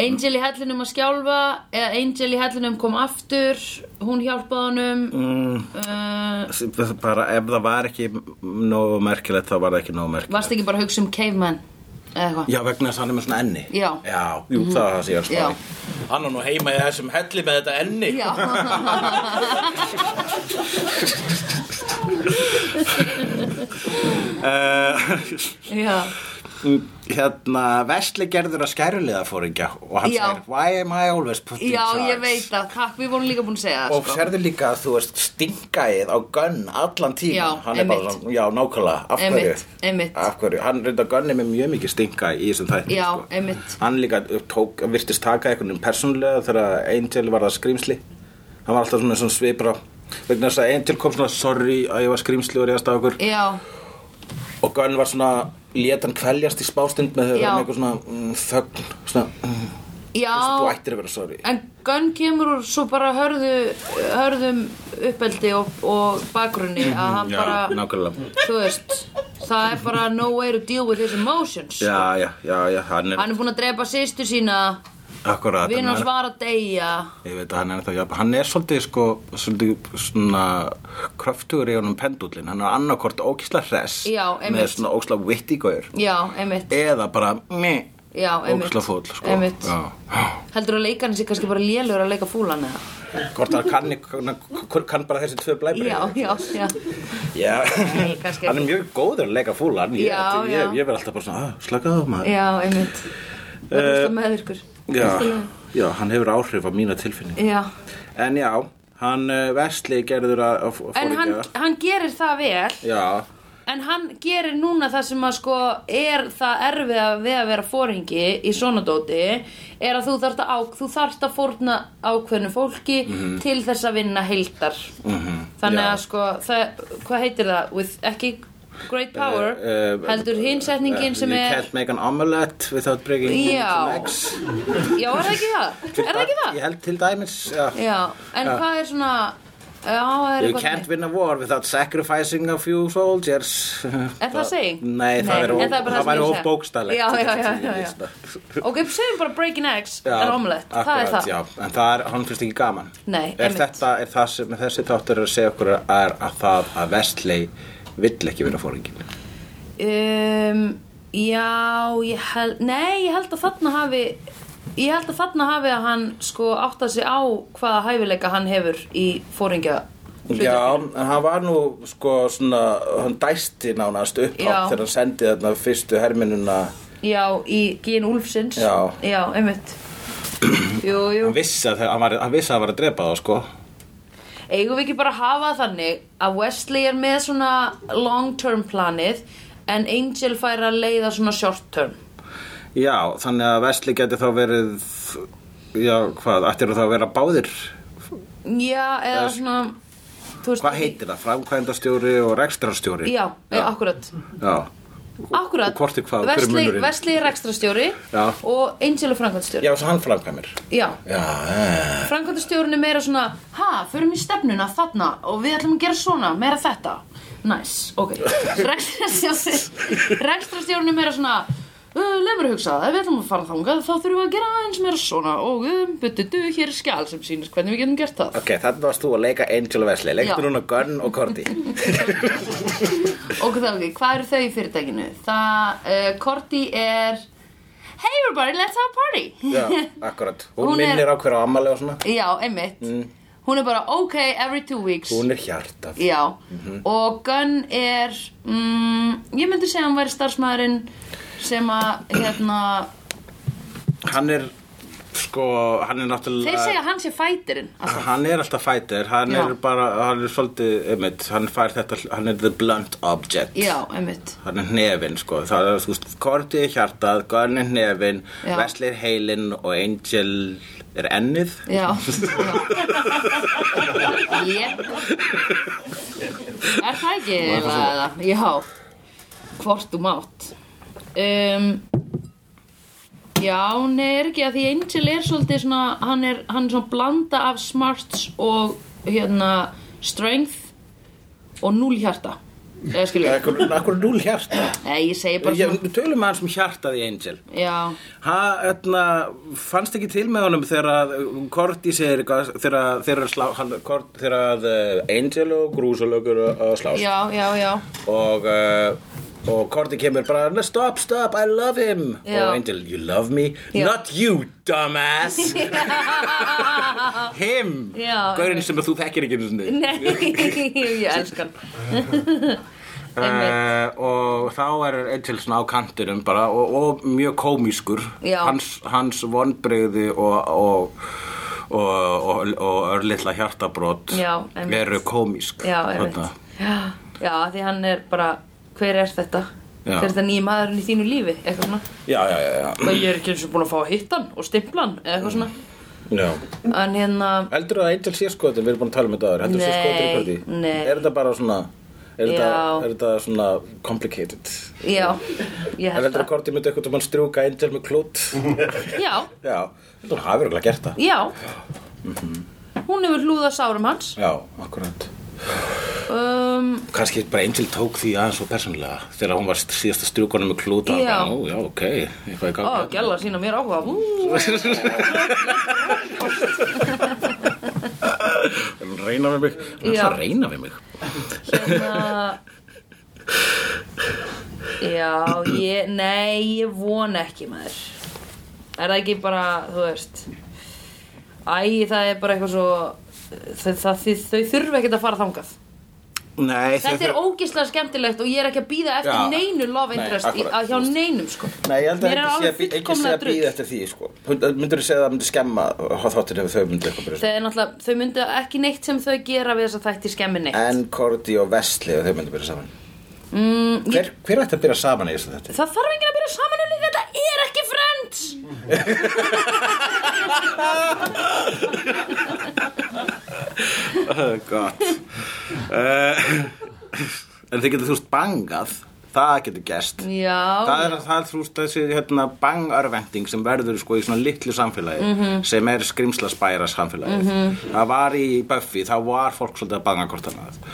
Angel í hellinum að skjálfa eða Angel í hellinum kom aftur hún hjálpaði honum mm. uh,
bara ef það var ekki nógu merkilegt þá var það ekki nógu merkilegt
Varst ekki bara að hugsa um caveman eða eitthvað
já vegna þess að hann er með svona enni
Já. Mhm.
jú, það var það sem ég var að
Já.
spá í. hann er nú heima í þessum helli með þetta enni
Já,
uh,
já,
hérna Vesli gerður að skæruliða fóringja og hann
Já.
segir why am I always put in
já,
charge
ég veit það, takk, við vorum líka búin að segja það
og
sko.
sérðu líka að þú veist stingaðið á gönn allan tíma
Já,
hann er bara
einmitt.
svona, já nákvæmlega, af hverju
Einmitt, einmitt.
af hverju, hann reynda gönni með mjög mikið stinga í þessum þætti
Já,
sko.
einmitt.
hann líka tók, virtist taka einhvern veginn persónulega þegar Angel var það skrýmsli hann var alltaf svona, svona svipra vegna þess að Angel kom svona sorry að ég var skrýmsli og reyðast af okkur
Já,
og gönn var svona, lét hann kveljast í spástund með þau
Já.
með eitthvað svona mm, þögn, svona mm, þú
já
ættir að vera sorry
En Gunn kemur úr svo bara hörðu, hörðum uppeldi og, og bakgrunni
Mhm,
að hann bara,
nákvæmlega
þú veist, það er bara no way to deal with his emotions.
Já, já, já, já, hann er,
Hann er búinn að drepa sýstu sína,
akkurat hann
vinur
er-
hans var að deyja.
Ég veit að hann er ennþá jafn, hann er svolítið sko, svolítið svona kröftugur í honum pendullin, hann er annarkort ókísla hress
Já, einmitt.
með svona ókísla vitti gaur
Já, einmitt,
eða bara meh,
já, einmitt.
ókísla Eh, fúll sko.
Einmitt.
Já.
Heldur að leikarinn sé kannski bara lélur að leika fúlan eða?
Hvort að kann, kann, kann bara þessi tvö blæbri
Já, já, já.
já.
Nei, kannski
hann er mjög góður að leika fúlan ég,
Já,
ég,
já.
ég, verð alltaf bara svona, "Ah, slakaðu á maður
Já, einmitt. Það er alltaf meðvirkur.
Eh, já, já, hann hefur áhrif á mína tilfinning
Já.
en já, hann uh, vesli gerður að, að, að
En hann,
fóringja.
hann gerir það vel.
já,
En hann gerir núna það sem að sko er það erfiða við að vera fóringi í svona dóti er að þú þarft að, á, þú þarft að fórna ákveðnu fólki til þess að vinna heildar. Þannig
Mhm. já.
að sko, það, hvað heitir það? With, ekki great power,
Eh, eh,
heldur hinsetningin sem
You
er...
can't make an omelette without breaking
Já.
into eggs.
Já, er það ekki það? Er það ekki það?
Ég held til dæmis, já.
Já, en hvað er svona... Já, það er
You
eitthvað
can't
þannig.
win a war without sacrificing a few soldiers.
Er það seging?
Nei, það er
en
of-
það er bara það sem ég
það væri
er að
of
segja.
bókstaflegt.
Já, já, já, já, já. Ok, segjum bara breaking eggs,
Já,
en omelett, það er
akkurat,
það.
Já, en það er, hann finnst ekki gaman.
Nei,
er
einmitt.
þetta, er það sem þessi þáttur er að segja okkur er að það að Vestley vill ekki vera fóringin.
Um, já, ég held, nei, ég held að þarna hafi, ég held að þarna hafi að hann sko áttað sig á hvaða hæfileika hann hefur í fóringja
Já, en hann var nú sko svona, hann dæsti nánast upp
Já.
þegar hann sendi þarna fyrstu herminuna
Já, í Gín Úlfsins.
Já.
Já, einmitt. Jú, jú.
hann vissi að það- hann var, hann vissi að það var að drepa þá sko
eigum við ekki bara að hafa það þannig að Wesley er með svona long term planið en Angel fær að leiða svona short term
Já, þannig að Vesli geti þá verið Já, hvað, ættir þá að vera báðir
já, eða svona þú veist-
Hvað heitir það? Framkvæmdastjóri og rekstrarstjóri
já, já. akkurat
Já,
Akkurat,
Og hvort er hvað, hver er
Vesli,
munurinn?
Vesli er rekstrastjóri
Já.
og Angel er framkvæmstjóri
já svo hann framkvæmir
Já,
Já, eh.
framkvæmdastjórun er meira svona ha, förum í stefnuna þarna og við ætlum að gera svona, meira þetta næs, nice, ok rekstrastjórun er meira svona uh, leið mér að hugsa, ef við ætlum að fara þangað þá þurfum við að gera aðeins meira svona og um, butu, du, hér er skjál sem sýnir hvernig við getum gert það
Ok, þannig varst þú að leika Angel og Vesli
Já.
Leiktur hún að Gunn og Korti
ok, þá, ok, hvað eru þau í fyrirtækinu? það, uh, Korti er hey everybody, let's have a party
Já, akkurat Hún,
Hún er-
minnir á hverju ammali og svona
já, einmitt hún er bara ok, every two weeks
Hún er hjarta
Já, og Gunn er, mm, ég myndi segja að hann væri starfsmæðurinn sem að, hérna,
Hann er, sko, hann er náttúrulega
þeir segja að hann sé fætirinn.
Hann er alltaf fætir, hann
Já.
er bara, hann er svolítið, einmitt, hann fær þetta, hann er the blunt object.
Já, einmitt.
Hann er hnefin, sko, það er, þú veist, Korti er hjartað, Gunn er hnefin,
Já.
Vesli er heilin og Angel er ennið.
Já, já. Jep. Er það ekki eða? Já, hvort þú mátt. Um, já, nei, er ekki að því Angel er svolítið svona, hann er, hann er svona blanda af smarts og hérna strength og núlhjarta. Eða skilur ég?
Akkur, akkur er núl hjarta.
Nei, ég segi bara
Ég,
svona,
við tölum aðeins um hjartað í Angel.
já,
Ha, öðna, fannst ekki til með honum þegar að um, Korti segir eitthvað, þegar að- þegar að slá- hann- Kort- þegar að eh, Angel og Grúsulögur að slást.
já, já, já,
og uh, og Korti kemur bara "No, stop, stop, I love him
Já.
og Angel, you love me
Já.
not you, dumbass him
Já.
gaurinn sem þú þekkir ekki einu sinni.
nei, ég elskar hann.
uh, og þá er Angel svona á kantinum bara og, og mjög komískur
Já.
hans, hans vonbrigði og, og og, og, og örlitla hjartabrot
Já, einmitt.
eru komísk
Já, einmitt
Þarna.
Já, já, því hann er bara Hver er þetta?
Já.
Hver er þetta nýja maðurinn í þínu lífi? Eitthvað svona
já, já, já, já.
Og ég er ekki eins og búin að fá að hitta hann og stimpla hann eða Eitthvað svona
já.
En hérna
Heldur að Angel sé skotin, við erum búin að tala um þetta aður Heldur að sé
Nei,
skotin í Korti
nei.
Er þetta bara svona Er þetta,
Já.
er þetta svona complicated
Já, ég
Er
held
heldur að
það
Korti myndi eitthvað mann strjúka Angel með klút
Já,
Já, heldur að hafa verið gert það
já
Mm-hmm.
Hún hefur hlúða sárum hans
Já, akkurat
um,
Kanski bara Angel tók því aðeins og persónlega Þegar hún var síðasta strjúkona með klút
Já.
bara, Ó, já, ok, eitthvað í
Ó,
gangi
gæla sína mér áhuga Ú,
Hún reyna við mig Hún
Já.
ætlar að reyna við mig
hérna Já, ég, nei, ég vona ekki maður Er það ekki bara, þú veist Æ, það er bara eitthvað svo það, það, þau, þau þurfa ekkert að fara þangað
Nei,
Þetta er ógislega skemmtilegt og ég er ekki að býða eftir
Já.
neinu love
Nei,
interest í,
akkurat,
að hjá neinum sko
Nei, ég held að
Mér er
ekki sé
alveg
að bí- ekki sé
fullkomlega
að býða
drull.
eftir því, sko. Myndur þú segja að það myndi skemma þáttir ef þau myndi eitthvað byrja?
Það er náttúrulega, þau myndu ekki neitt sem þau gera við þess að þætti skemmi neitt
En Korti og Vesli og þau myndu byrja saman
mm, ég,
Hver, hver ætti að byrja saman í þessu þetta?
Það þarf enginn að byrja saman um líka, þetta er ekki Friends
Uh, gott uh, En þið getur þú veist bangað Það getur gest
Já,
Það er, það er þú veist þessi hérna, bangörvending sem verður sko í svona litlu samfélagi
Mhm.
sem er skrimslaspæra samfélagi Það var í Buffy, það var fólk svolítið að banga hvort annað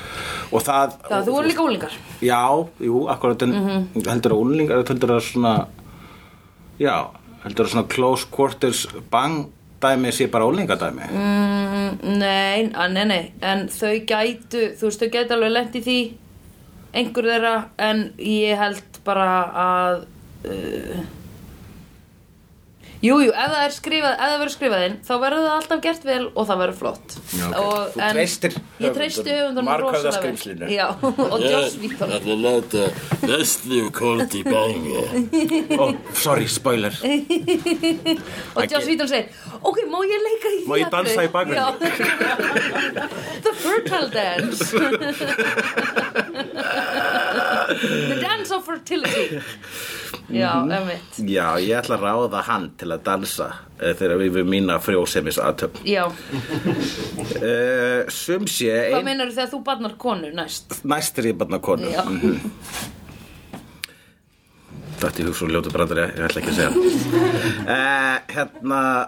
Og það
Já, þú voru líka úlingar
Já, jú, akkurat en heldur að unlingar, heldur að svona já, heldur að svona close quarters bang dæmi sé bara unlingadæmi mm.
Mm, Nei, að nei, nei, en þau gætu, þú veist, þau gætu alveg lent í því einhver þeirra, en ég held bara að uh, Jú, jú, ef það er skrifað, ef það verður skrifað inn þá verður það alltaf gert vel og það verður flott Já,
ok.
og,
Þú
en-
treystir
Ég treysti höfundunum
höfundunum. Marghöfða
rosalega vel.
skrímslinu.
Já, og Joss
Ég
Vítor
ætla að láta Leslie og Korti banga.
Ó, Oh, sorry, spoiler
og Joss Vítor segir Ok, má ég leika í því
Má ég dansa í bakgrunni?
bakgrunni? The fertile dance The dance of fertility Já,
Mhm.
emitt
Já, ég ætla að ráða hann til að dansa eh, þegar við við mína frjósemis aðtöp
Já,
uh, Sum sé
hvað
ein,
meinar þegar þú barnar konu næst?
næstir Mhm. ég barna konu
Já,
Þetta ég hugsa um ljótu brandari, ég ætla ekki að segja uh, Hérna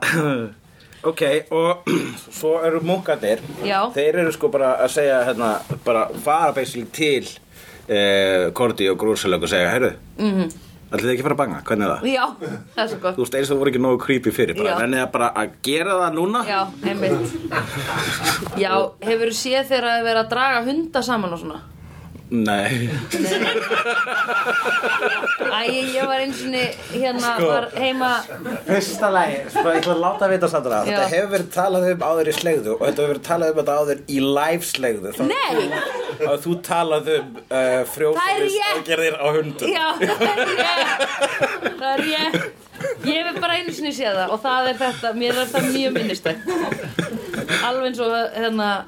Ok, og svo eru munkarnir
Já.
Þeir eru sko bara að segja hérna, bara fara beisil til uh, Korti og Grúsalög og segja, heyrðu mm -hmm. Ætli þið ekki að fara að banga, hvernig er það?
Mhm. já, það er svo gott
Þú veist eins og voru ekki nógu creepy fyrir bara,
Já.
Þannig að bara að gera það núna
Já, einmitt Já, hefur séð þegar að vera að draga hunda saman og svona
Nei
Æ, ég var eins og hérna
Sko.
var heima
Fyrsta lagi, sko, ég ætla að láta vita Sandra
Já.
Þetta hefur verið talað um áður í slegðu og þetta hefur verið talað um þetta áður í live slegðu þá,
Nei,
að þú talað um uh,
Það er
frjóðsins
rétt.
á hundum
já, það er ég Það er ég Ég hef bara einu sinni séð það og það er þetta, mér er það mjög minnistætt Alveg eins og hérna,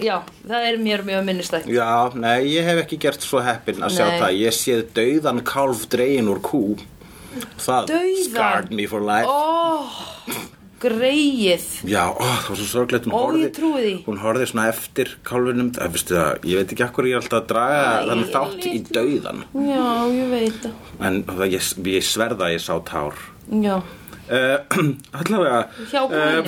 já, það er mér mjög minnistætt
Já, nei, ég hef ekki gert svo heppin að sjá
Nei.
það Ég séð dauðan kálf dregin úr kú Það
Dauðan?
scarred me for life
Ó, greið
Já, ó, það var svo sorglegt hún
Ó,
horfði,
ég trúi því.
Hún horfði svona eftir kálfunum það, veistu það, Ég veit ekki akkur ég er alltaf að draga þann þátt í dauðan
Já, ég veit það
En það, ég, ég sverða að ég sá tár
Já,
Uh, allavega
hjá konunni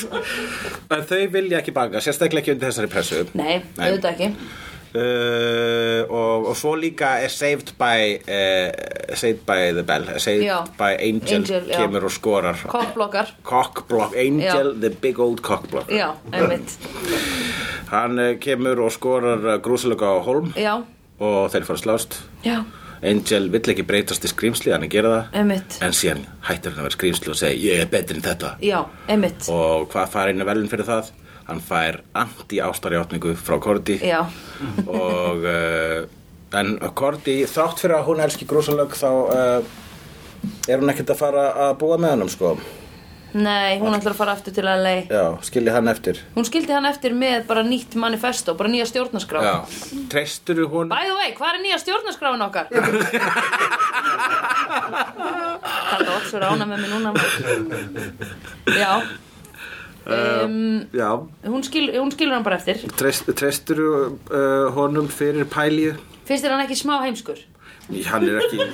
en þau vilja ekki banga, sérstaklega ekki undir þessari pressu
Nei,
Nei.
auðvitað ekki
uh, og, og svo líka er saved by uh, saved by the bell saved
Já.
by angel,
Angel, já.
kemur og skorar
Koppblokkar
cockblock, angel,
Já.
the big old cockblock
Já, einmitt
hann uh, kemur og skorar grúsilega á holm
Já,
og þeir fara að slást
já,
angel vill ekki breytast í skrýmsli hann er að gera það
einmitt
en síðan hættir hann að vera skrýmsli og segja ég er betri en þetta
Já, einmitt
og hvað fær einu velun fyrir það hann fær anti-ástarjátningu frá Korti
Já,
og uh, en Korti, þrátt fyrir að hún elski grúsalög þá uh, er hún ekkert að fara að búa með hannum sko
nei, hún ætlar að fara aftur til LA
já, skilji hann eftir
Hún skildi hann eftir með bara nýtt manifesto, bara nýja stjórnarskrá
já, treystur hún
By the way, hvað er nýja stjórnarskráin okkar? Kallar Otsur ána með mig núna maður. Já
Eh.
um,
já,
hún, skil, hún skilur hann bara eftir
treyst, treystur uh, honum fyrir pælið
Finnst þér hann ekki smá heimskur?
hann er ekki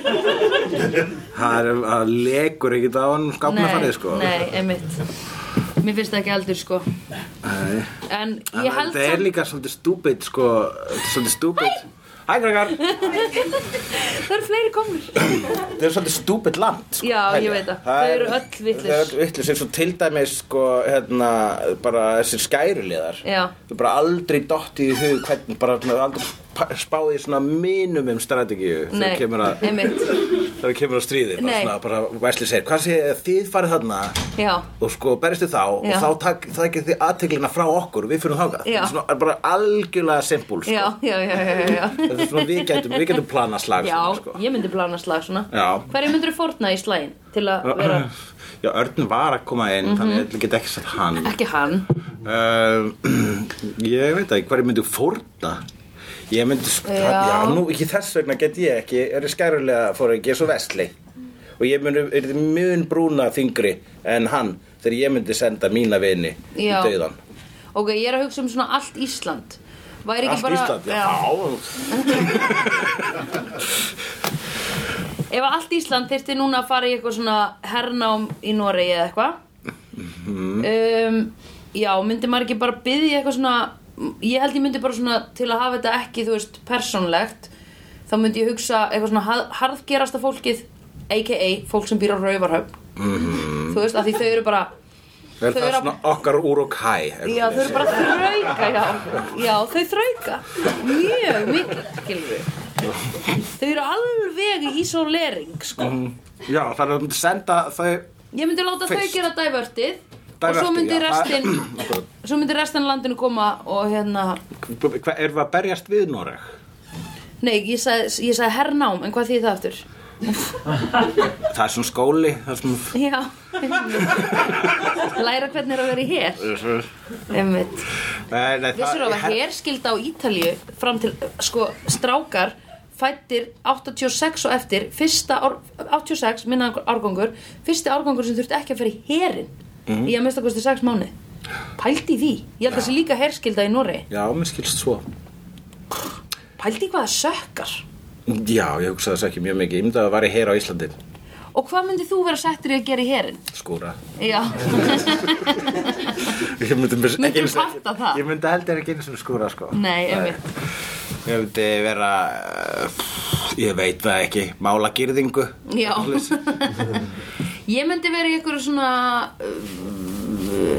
hann er að legur ekkert á hann skapna farið sko
nei, einmitt Mér finnst það ekki aldur sko
nei.
En ég held
það er
samt-
líka svolítið stúbid sko, svolítið stúbid Hæ, krakkar!
það eru fleiri komur
Það er svolítið stúbid land sko,
Já, ég
Helja.
veit það.
það
Þau
er-
eru öll vitlaus.
Þau eru öll vitlis eins og til dæmis sko, hérna, bara þessir skæruliðar
Já.
Þau bara aldrei dottið í hug hvernig bara svona, aldrei pa- spáð í svona minimum strategíu
Nei,
þegar kemur að
einmitt
þegar kemur að stríði bara,
Nei.
svona, bara Wesley segir, hvað sé þið farið þarna
Já,
og sko berist þið þá
Já.
og þá tak, takið þið aðteglina frá okkur við fyrir þáka,
Já.
svona bara algjörlega simpul sko.
já, já, já, já, já.
þetta er svona við getum, við getum planað slag
Já,
svona, sko.
ég myndi plana slag svona
Já.
Hverju myndirðu fórna í slaginn til að vera
já, Örn var að koma inn
Mhm.
þannig ég get ekki sett hann
Ekki hann
um, ég veit ekki hverju myndi fórna ég myndi sko,
Já.
já. nú ekki þess vegna get ég ekki er ég skærulega fór ekki svo vestli og ég myndi, er þið mun brúna þingri en hann þegar ég myndi senda mína vini í
Já.
döðan
Ok, ég er að hugsa um svona allt Ísland Væri ekki
Allt
bara
Ísland, já,
Ef allt Ísland þyrfti núna að fara í eitthvað svona hernám í Noregi eða eitthvað
Mhm.
um, Já, myndi maður ekki bara byðja eitthvað svona Ég held ég myndi bara svona til að hafa þetta ekki, þú veist, persónlegt Þá myndi ég hugsa eitthvað svona ha- harðgerasta fólkið A.k.a. fólk sem býr á Rauvarhöfn
Mhm.
Þú veist, að því þau eru bara
Er
Þau
það
eru að-
svona okkar úr og kæ
Já, þau eru bara þrauka, já Já, þau þrauka Mjög mikið, skilur við Þau eru alveg í isolering sko.
Mhm. Já, það er að myndi senda þau
Ég myndi láta
Fyrst.
þau gera dævörtið Og
Divertið,
svo myndi
já,
restin Svo myndi restin af landinu koma Og hérna
Hva, Erum við að berjast við Noreg?
Nei, ég sagði, ég sagði hernám En hvað þýð það aftur?
Það er svona skóli Það er svona
Já Læra hvernig er að vera í hér Einmitt
Nei, nei,
Vissir að
her-
herskilda á Ítalíu fram til, sko, strákar fættir 86 og eftir fyrsta, ár, 86 minna árgangur, fyrsti árgangur sem þurfti ekki að fara í herin
Mhm.
í að mesta kosti 6 mánu pældi í því, ég held að það sé líka herskilda í Noregi,
Já, mér skilst svo
pældi í hvaða sökkar
Já, ég hugsa þess ekki mjög mikið Ég myndi að það væri hér á Íslandi
og hvað myndi þú vera settur í að gera í herin?
Skúra
Já,
Ég myndi mér-
Myndirðu
ekki einu sinni-
fatta það?
Ég myndi heldur ekki einu sem skúra sko
nei, einmitt
Ég myndi vera eh, Ég veit það ekki Mála gyrðingu
Já. Ég myndi vera í einhverju svona uh,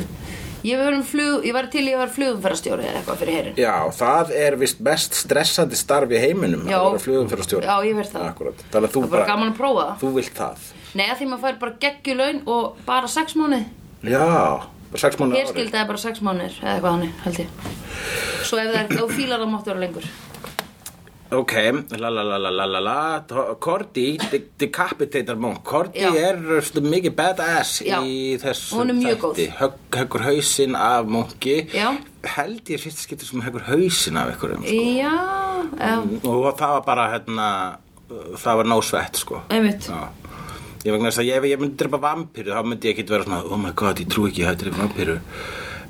Ég var, um flug, ég var til í að vera flugumferðarstjóri eða eitthvað fyrir herin
Já, það er vist mest stressandi starf í heiminum
Já.
að vera flugumferðarstjóri.
Já, ég verð það.
Akkúrat. Þannig að þú
Það er bara gaman að prófa það
Þú vilt það
Nei, að því maður fær bara geggjulaun og bara sex mánuð
Já, bara sex mánu ári
Hér skildaði bara sex mánuðir eða eitthvað hannig, held ég Svo ef það er, ef þú fílar það máttu vera lengur
Ok, la la la la la la la To- Cordy, de- decapitator monk Cordy
Já.
er stu, mikið badass
Já.
í þessu
Hún er mjög góð.
Högg, Höggur hausinn af monki
Já.
Held ég fyrst skiptir sem höggur hausinn af einhverjum sko.
Já, um,
Og það var bara hérna uh, Það var nósvett sko
einmitt
Já. Ég vegna þess að ég, ég myndi drepa vampíru þá myndi ég ekkit vera svona, oh my god, ég trú ekki að drepa vampíru uh,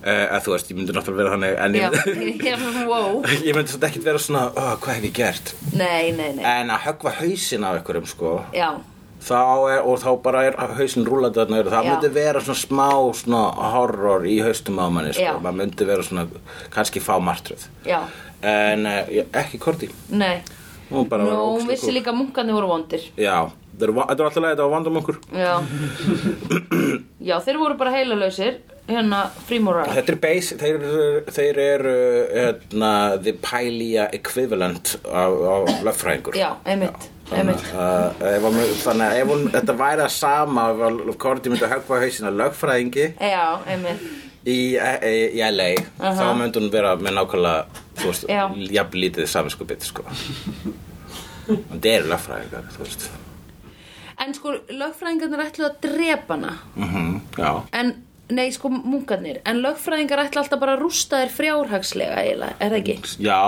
að þú veist, ég myndi náttúrulega vera þannig en
Já,
ég myndi,
ég er svona, wow
ég myndi svona ekkit vera svona oh, hvað hef ég gert
Nei, nei, nei
en að höggva hausinn af einhverjum sko
Já,
þá er, og þá bara er hausinn rúlandi þarna yfir, það
Já.
myndi vera svona smá svona horror í haustum á manni sko,
Já.
maður myndi vera svona kannski fá martröð
já,
en uh, ekki korti
nei
hún bara
Nú,
var
hún
ógeðslega
vissi
cool.
líka að munkandi voru vondir
já, þetta eru va- þetta var alltaf leið, þetta var vandamunkur
Já Já, þeir voru bara heilalausir Hérna, frímórar
Þetta er base, þeir, eru- þeir eru hérna, the pælia equivalent af, af löffræðingur.
Já, einmitt, einmitt
Uh, ef, hann- þannig að ef hún, þetta væri að sama ef að Korti myndi að höggva hausina lögfræðingi
Já, einmitt
í, í, í LA þá myndi hún vera með nákvæmlega þú veist,
Já.
jafn lítið saminskupið sko. en þeir eru lögfræðingar þú veist
En sko, lögfræðingarnir ætlu að drepa hana
mm Já,
En, nei, sko, munkarnir En lögfræðingar ætlu alltaf bara að rústa þér frjárhagslega eiginlega, er það ekki?
já,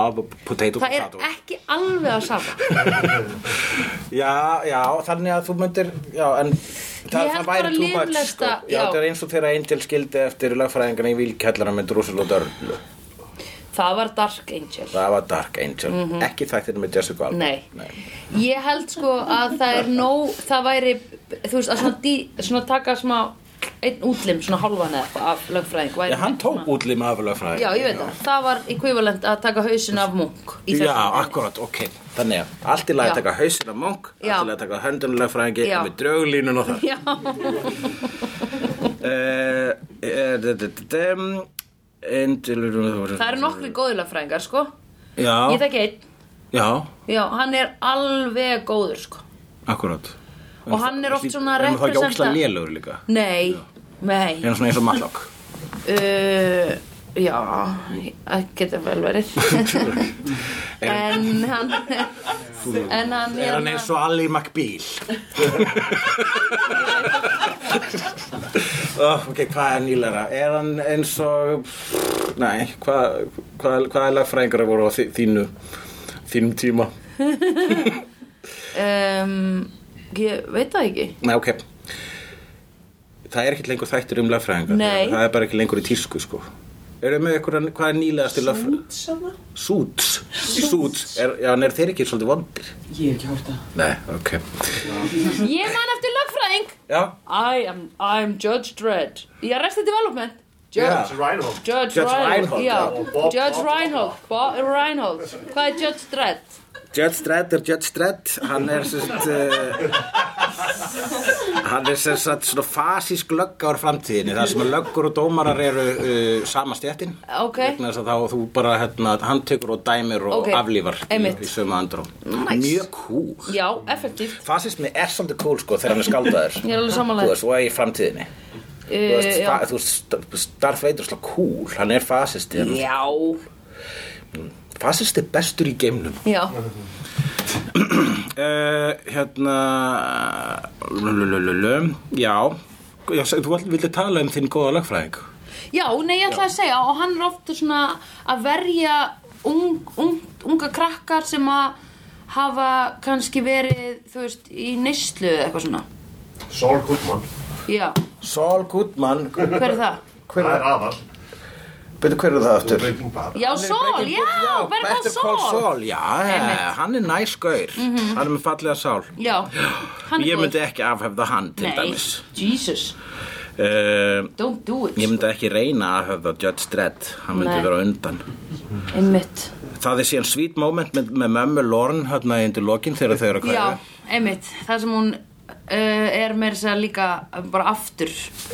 potato
Það
potato.
er ekki alveg að sama
Já, já, þannig að þú myndir Já, en það,
held
það
bara
væri too much sko.
liðlesta,
Já,
já.
þetta er eins og þegar Angel skildi eftir lagfræðingarna í Vílkjallara með Drusel og Dörlu
Það var Dark Angel
Það var Dark Angel, ekki þættir með Jessica Alba
Mhm. Nei. Ég held sko að það er nóg, það væri, þú veist, að svona, dí, svona taka smá einn útlim, svona hálfan eða eitthvað af lögfræðing. væri
Já, hann
svona-
tók útlima af lagfræðingarna
Já, ég veit það. Það var equivalent að taka hausin af munk í þessu.
Já, akkurat, ok Þannig að allt í lagi að
Já.
taka hausinn af monk
Já.
Allt í lagi að taka höndun lagfræðingi
Já.
Með drauglínun og það
Já,
Eh, eh, d- d- d- dem, Angel
það eru nokkri góði lögfræðingar, sko. Ég
Já,
þekki einn.
já,
Já, hann er alveg góður, sko.
akkurat
Og hann er oft svona
En það er ekki ókslega
representa...
lélugur líka
Nei, nei.
Ég er svona eins og mallokk
Uh, já, það getur vel verið. en hann... En hann...
Er hann
hérna-
eins og Ali McBeal? oh, ok, hvað er nýlega? Er hann eins og... Nei, hvað hva, hva er lagfræðingar voru á þi- þínu, þínum tíma?
um, ég veit það ekki
Nei, ok. Það er ekki lengur þættur um lagfræðingar.
Nei.
Það er bara ekki lengur í tísku, sko. Eru með ykkur, hvað er nýlegasti lagfræðingar?
Útsanna?
Súts. Súts. Er, já, en er þeir ekki svolítið vondir?
Ég hef ekki hórt það.
Nei, ok.
ég man eftir lögfræðing
Já,
I am, I am Judge Dredd í Arrested Development Judge,
Judge Reinhold.
Judge,
Judge Reinhold,
Reinhold, já.
já. Og Bob-
Judge
Bob-
Reinhold Bob Reinhold hvað er Judge Dredd
Judge Dredd er Judge Dredd hann er sérst uh, eh, Hann er sem sagt svona fasísk lögga úr framtíðinni þar sem að löggur og dómarar eru uh, sama stjættin
Ok.
vegna þess að þá þú bara hérna, hann tekur og dæmir og
Ok.
aflífar í-
Einmitt.
í sömu andrum
Nice.
Mjög cool
Já, effektíft
Fasismi er svolítið cool sko þegar hann er skáldaður
Ég er alveg sammála
Þú
þér.
veist, og í framtíðinni Þú
Eh,
veist,
já.
fa- þú veist, Darth Vader er slá cool, hann er fasisti en
Já,
Fasisti er bestur í geimnum
já
Uh, hérna lululululum, já Já, sagði- þú vildi tala um þinn góða lagfræðing
Já, nei, ég ætla að segja og hann er ofta svona að verja ung, ung, unga krakkar sem að hafa kannski verið, þú veist, í neyslu eða eitthvað svona
Saul Goodman,
Já,
Saul Goodman Hver
hver er það?
það er aðal
Byrju, hver er það aftur?
Breaking Bad
Já, Sól, já, verður það
Better Call
Sól?
Saul, já,
Einmitt.
hann er næs gaur Hann er með fallega sál
Já, hann
Ég
er
myndi ekki afhefða hann til
Nei,
dæmis
Jesus,
uh,
don't do it
Ég myndi ekki reyna að afhefða Judge Dredd Hann myndi
Nei.
vera á undan
Einmitt
Það er síðan sweet moment með, með mömmu Lorne hérna í undir lokin þegar þau eru að kvæða
Já, einmitt, það sem hún uh, er meira sér líka bara aftur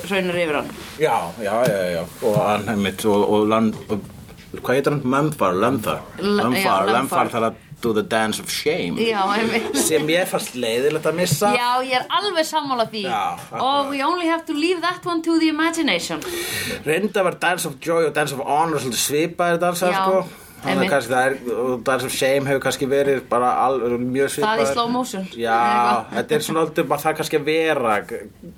raunar yfir hann
Já, já, já, já, og hann einmitt og, og, land, og hvað heitir hann? Memphar, Lamthar
L- já,
Lamthar,
Lamphar.
Lamthar þarf að do the dance of shame
Já, einmitt
sem ég fannst leiðilegt að missa
Já, ég er alveg sammála því
Já,
Og we only have to leave that one to the imagination
reynda var dance of joy og dance of honor svolítið svipaðir dansar
Já,
sko Þannig
einmitt.
að kannski það er, og dance of shame hefur kannski verið bara al, mjög
Það
svipaðir
í slow motion
Já, þetta er svona aldrei bara það kannski að vera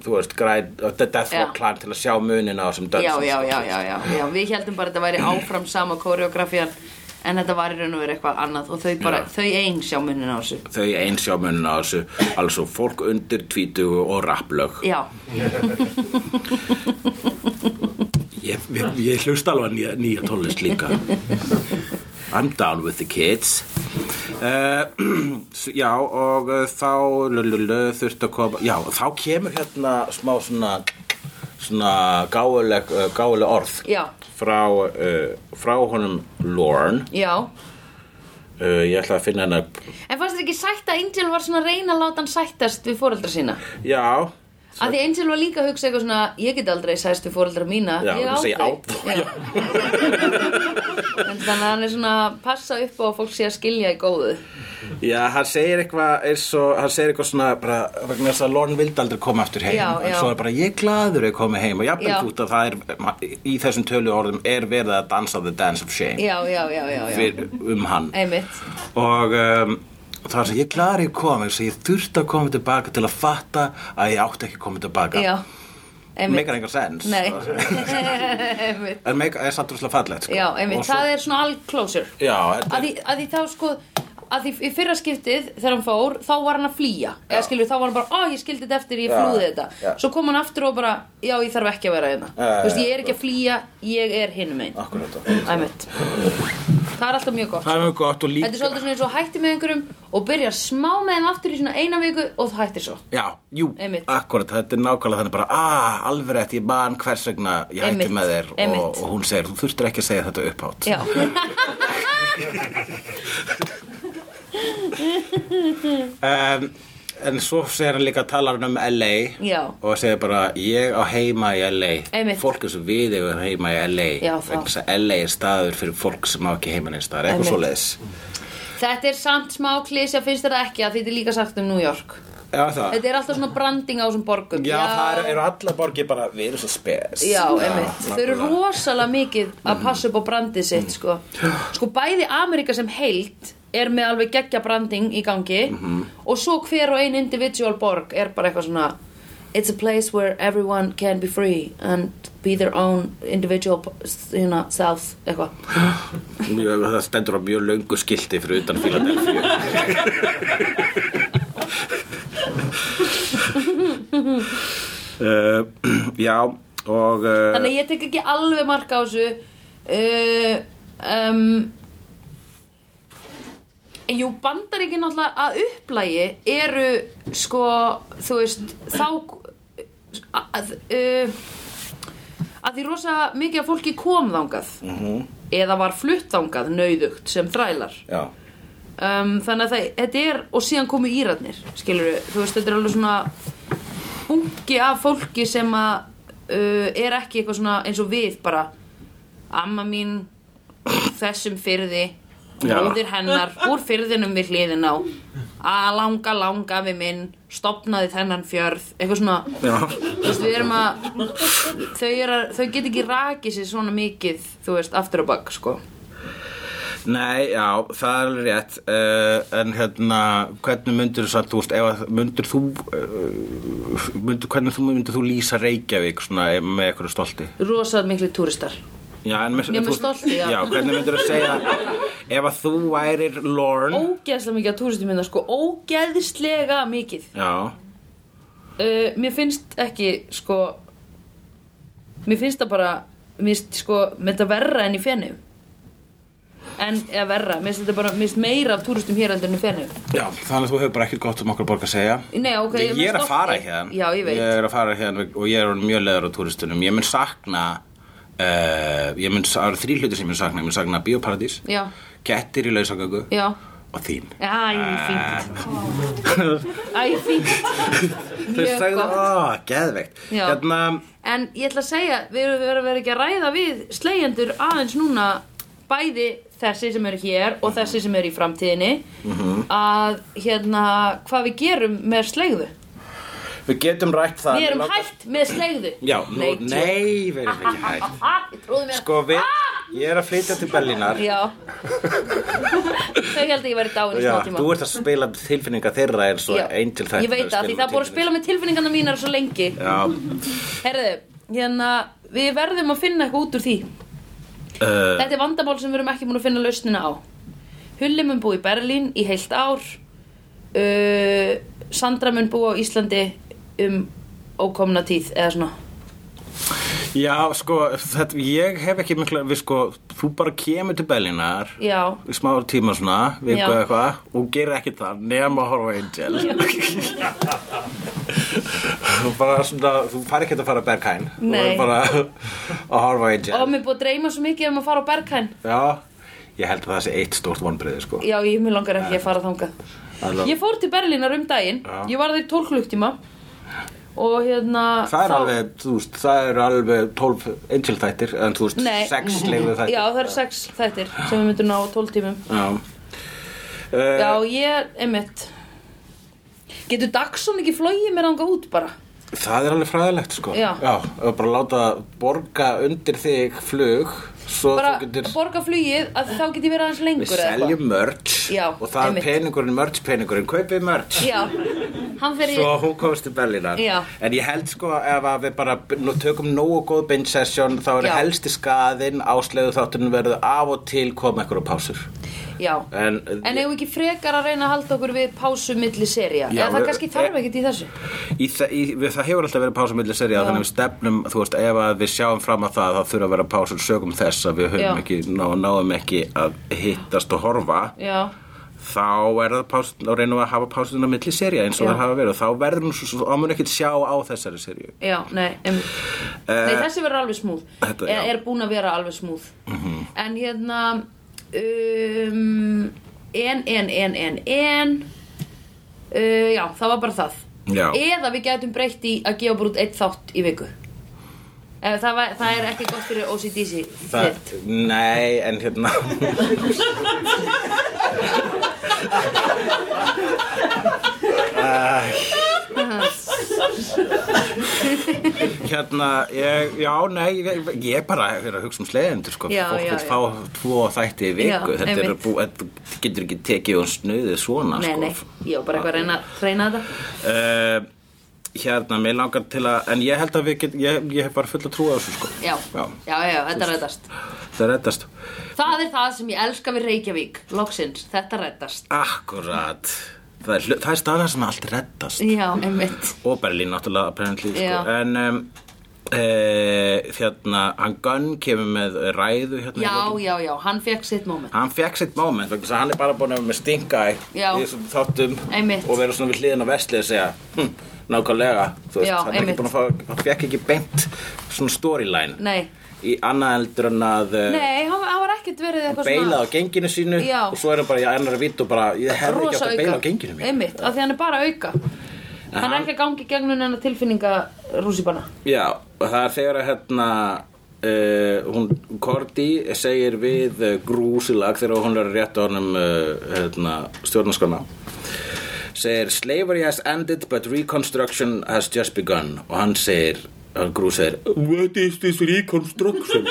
þú veist, græn, uh, The Death
Já.
Rock Clan til að sjá munina á þessum
já,
dansum
já, já, já, já, já Við heldum bara að þetta væri áfram sama koreografían En þetta var í raun og verið eitthvað annað Og þau bara, þau einn sjá munnin á þessu
þau eins sjá munina á þessu alls og fólk undir tvítugu og rapplög
Já,
Ég, ég, ég hlusta alveg á nýja, nýja tónlist líka I'm down with the kids uh, Já og uh, þá lululu, þurfti að koma Já þá kemur hérna smá svona svona gáuleg, uh, gáuleg orð
já,
frá, uh, frá honum Lorne
já
uh, Ég ætla að finna hennar
En fannst þetta ekki sætt að Angel var svona að reyna að láta hann sættast við foreldra sína?
Já
Að því Angel var líka að hugsa eitthvað svona Ég get aldrei sæst við foreldra mína
Já,
Ég
þú segir
þau.
á þá,
Já. En Þannig að hann er svona að passa upp á að fólk sé að skilja í góðu
Já, hann segir eitthvað eins og, hann segir eitthvað svona bara, vegna þess að Lorne vildi aldrei koma aftur heim
Já,
en
já.
svo er bara ég er gladur að koma heim og jafnvel
Já.
út að það er í þessum tölu orðum er verið að dansa the dance of shame
Já, já, já, já, já.
fyrir, um hann
Einmitt
og um, það er sem ég gladur að koma þess að ég þurfti að koma tilbaka til að fatta að ég átti ekki að koma tilbaka
Já, einmitt
meikar engan sens
Nei Einmitt
en meikar er samt rosalega fallegt sko.
Já, einmitt,
Og svo,
það er svona all closure
já, þetta
að því, að því þá sko að því í fyrra skiptið þegar hann fór þá var hann að flýja eða skilur þá var hann bara, ó ég skildi þetta eftir, ég
Já,
flúði þetta
já.
svo kom hann aftur og bara, já ég þarf ekki að vera hérna
Já, já,
þú veist,
já,
ég er ekki að flýja, ég er hinum einn
akkurat á.
æmitt það er alltaf mjög gott
það er mjög gott og
þetta er
líka
svolítið svona eins og hætti með einhverjum og byrjar smá með þeim aftur í svona eina viku og það hættir svo
Já, jú,
Einmitt.
akkurat, þetta er nákvæmlega þannig bara ah, alveg rétt, ég man hvers vegna ég hætti
Einmitt,
með þér og,
einmitt.
og hún segir, þú þurftir ekki að segja þetta upphátt
já,
um, En svo segir hann líka að tala hann um LA
Já.
og segir bara, ég á heima í LA
Einmitt.
Fólk eins og við eigum heima í LA
Já, það.
vegna þess að LA er staður fyrir fólk sem á ekki heima neins staðar, eitthvað
Einmitt.
svoleiðis
þetta er samt smá klísja finnst þetta ekki að þetta er líka sagt um New York
Já, það
þetta er alltaf svona branding á þessum borgum
Já, það eru- eru alla borgir bara, við erum svo spes
Já, einmitt. Þau eru
nákvæmlega.
rosalega mikið að passa upp á brandið sitt, sko. Sko, bæði Amerika sem heilt er með alveg geggja branding í gangi og svo hver og ein individual borg er bara eitthvað svona It's a place where everyone can be free and be their own individual you know, self, eitthvað.
Mjög, það stendur á mjög löngu skilti fyrir utan Philadelphia uh, Já og uh,
Þannig að ég tek ekki alveg marka á þessu uh, um, En Jú, bandaríkin náttúrulega að upplægi eru sko, þú veist, þá að, uh, að því rosa mikið af fólki kom þangað eða var flutt þangað nauðugt sem þrælar
Já,
um, þannig að það, þetta er og síðan komu írarnir skilur þú veist, þetta er alveg svona bunki af fólki sem að uh, er ekki eitthvað svona eins og við bara amma mín þessum fyrði
Já.
móðir hennar úr fyrðinum við hliðin á að langa langa við minn stopnaði þennan fjörð eitthvað svona
já,
Þú veist, við erum að þau, er að þau get ekki rakið sér svona mikið þú veist, aftur á bak sko
nei, já, það er alveg rétt uh, en hérna, hvernig myndir þú samt, þú veist, ef að myndir þú uh, myndir, hvernig þú myndir þú lýsa Reykjavík svona eh, með eitthvað stolti
rosað miklu túristar
já, en með,
Já, með
þú-
stolti, já.
já, hvernig myndir þú segja ef að þú værir Lorne
ógeðslega mikið af túristum minna sko ógeðslega mikið
já,
uh, mér finnst ekki sko mér finnst það bara mér finnst sko, mér finnst það verra enn í fennu en, eða verra mér finnst þetta bara, mér finnst meira af túristum hér heldur enn í fennu
já, þannig að þú hefur bara ekkert gott um okkur borg að segja
Nei, ok,
ég,
með
er að
stolti.
fara hérna
Já, ég veit
er að fara hérna og ég er orðinn mjög leður á túristunum ég mun sakna uh, ég mun, það eru þrý hlutir sem ég mun sakna ég mun sakna bioparadís,
Já,
kettir í lausagöku
já
og þín
Æ, fínt Æ, fínt
þau
Mjög
sagði,
gott
ó, geðveikt
Já.
hérna,
En ég ætla að segja, við erum verið að vera ekki að ræða við slegjendur aðeins núna bæði þessi sem eru hér og þessi sem eru í framtíðinni
Mhm.
að hérna hvað við gerum með slegðu
við getum rætt það
Við erum
Mig langar-
hægt með slegðu
já, nú,
Nei, Ah, tjó-
nei, við erum ekki hægt
Ha, ég trúði mér
sko, við, ég er að flytja til
ah.
Berlínar
Já Þau held að ég væri dáin í
Já,
smá tíma
þú ert að spila tilfinninga þeirra eins og
Já.
einn til þetta
Ég veit að því það er búið að spila með tilfinningarna mínar svo lengi
Já,
Herðu, hérna, við verðum að finna eitthvað út úr því
eh,
Þetta er vandamál sem við erum ekki búin að finna lausnina á Hulli mun búa í Berlín í heilt ár uh, Sandra mun búa á Íslandi um ókomna tíð eða svona
Já, sko, þetta, ég hef ekki mikla, við sko, þú bara kemur til Berlínar
Já.
í smá tíma svona, við
Já.
eitthvað eitthvað og gerir ekki það, nema að horfa á Angel Þú bara svona, þú fari ekki að fara að Berghain Þú
Nei.
er bara að horfa á Angel
Og mér er búið að dreyma svo mikið um að fara á Berghain
Já, ég held að það sé eitt stórt vonbreiði, sko
Já, ég mér langar ekki að fara þangað
Alla-
Ég fór til Berlínar um daginn
Já.
Ég var það í 12 klukktíma Og hérna
Það er
þá-
alveg, þú veist, það eru alveg 12 Angel þættir, en þú veist,
Nei.
6 leiðu þættir
Já, það eru sex þættir sem við myndum ná á 12 tímum
Já. Eh,
Já, ég, einmitt Getur Dagson ekki flogið mér ánga út bara?
Það er alveg fræðilegt sko
Já.
og bara láta borga undir þig flug Svo
Bara
þú getur
borga flugið að þá get ég verið aðeins
Við
lengur eða eitthvað.
seljum merch
Já,
Og það
einmitt.
er peningurinn, merch peningurinn Kaupið merch
Já, hann fer í
Svo hún komst til Berlínar
Já.
En ég held sko ef að við bara nú tökum nógu góð binge session Þá er
Já.
helsti skaðinn áslegu þáttunum verður af og til koma ekkur á pásur
Já,
En,
en eigum við ekki frekar að reyna að halda okkur við pásu milli seria Eða
Já,
það
við- e-
kannski þarf ekkert í þessu
í, þa- í, við, það hefur alltaf verið pása milli serið
Já.
þannig að við stefnum, þú veist, ef að við sjáum fram að það þá þurfa að vera pásur sögum þess að við
Já.
höfum ekki, ná, náum ekki að hittast og horfa
Já,
þá er það pásun, þá reynum við að hafa pásun á milli serið eins og
Já.
það hafa verið og þá verður hún svo, svo, þá mun ekkert sjá á þessari serið
já, nei um, Nei, þessi verður alveg smúð
E- Þetta,
er,
já. Mhm.
er búin að vera alveg smúð En hérna um, En, en, en, en, en uh, Já, það var bara það
Já.
Eða við gætum breytt í að gefa bara út eitt þátt í viku Eh, Það, var, það er ekki gott fyrir OCDC þitt.
nei, en hérna Hérna, ég, já, nei, ég, ég bara er að hugsa um slegjendur, sko.
Já,
Fólk
já,
vil
já.
fá tvo þætti í viku.
Já,
þetta, er
einmitt.
bú, þetta getur ekki tekið og snuðið svona,
Nei,
sko.
nei, ég var bara eitthvað að reyna að reyna þetta
Eh, hérna, mér langar til að, en ég held að við get, ég, ég hef bara full að trúa þessu, sko.
Já, já,
Já.
já, þetta reddast
Það reddast.
Það er það sem ég elska við Reykjavík Loksins, þetta reddast
Akkurat. Það er, hlu- það er staðar sem allt reddast.
Já, einmitt
og Berlín náttúrulega apparently
Já.
sko. en um, e, þérna, hann Gunn kemur með ræðu hérna í
Já,
lokin.
já, já, hann fekk sitt moment
hann fekk sitt moment vegna þess að hann er bara búin að vera með stinga í
Já.
þessum þáttum
Einmitt.
og vera svona við hliðin á vestlið og segja hm, nákvæmlega þú veist,
Já,
hann, er
einmitt.
ekki búinn að fá, hann fekk ekki beint svona storyline
Nei,
í annað heldur en að eh,
nei, hann, hann var ekkert verið eitthvað
beilað á genginu sínu
Já.
og svo er hann bara í annara vitt og bara ég hefði ekki átt
Rosa
að beila á
auka
genginu mínu
Einmitt, af því hann er bara að auka Hann er ekki að gangi gegnum hennar tilfinninga rússipanna
Já, og það er þegar að hérna Uh, hún Korti segir við uh, grúsilag þegar hún er að rétta honum uh, hérna, stjórnarskona segir slavery has ended but reconstruction has just begun og hann segir, hann grú segir what is this reconstruction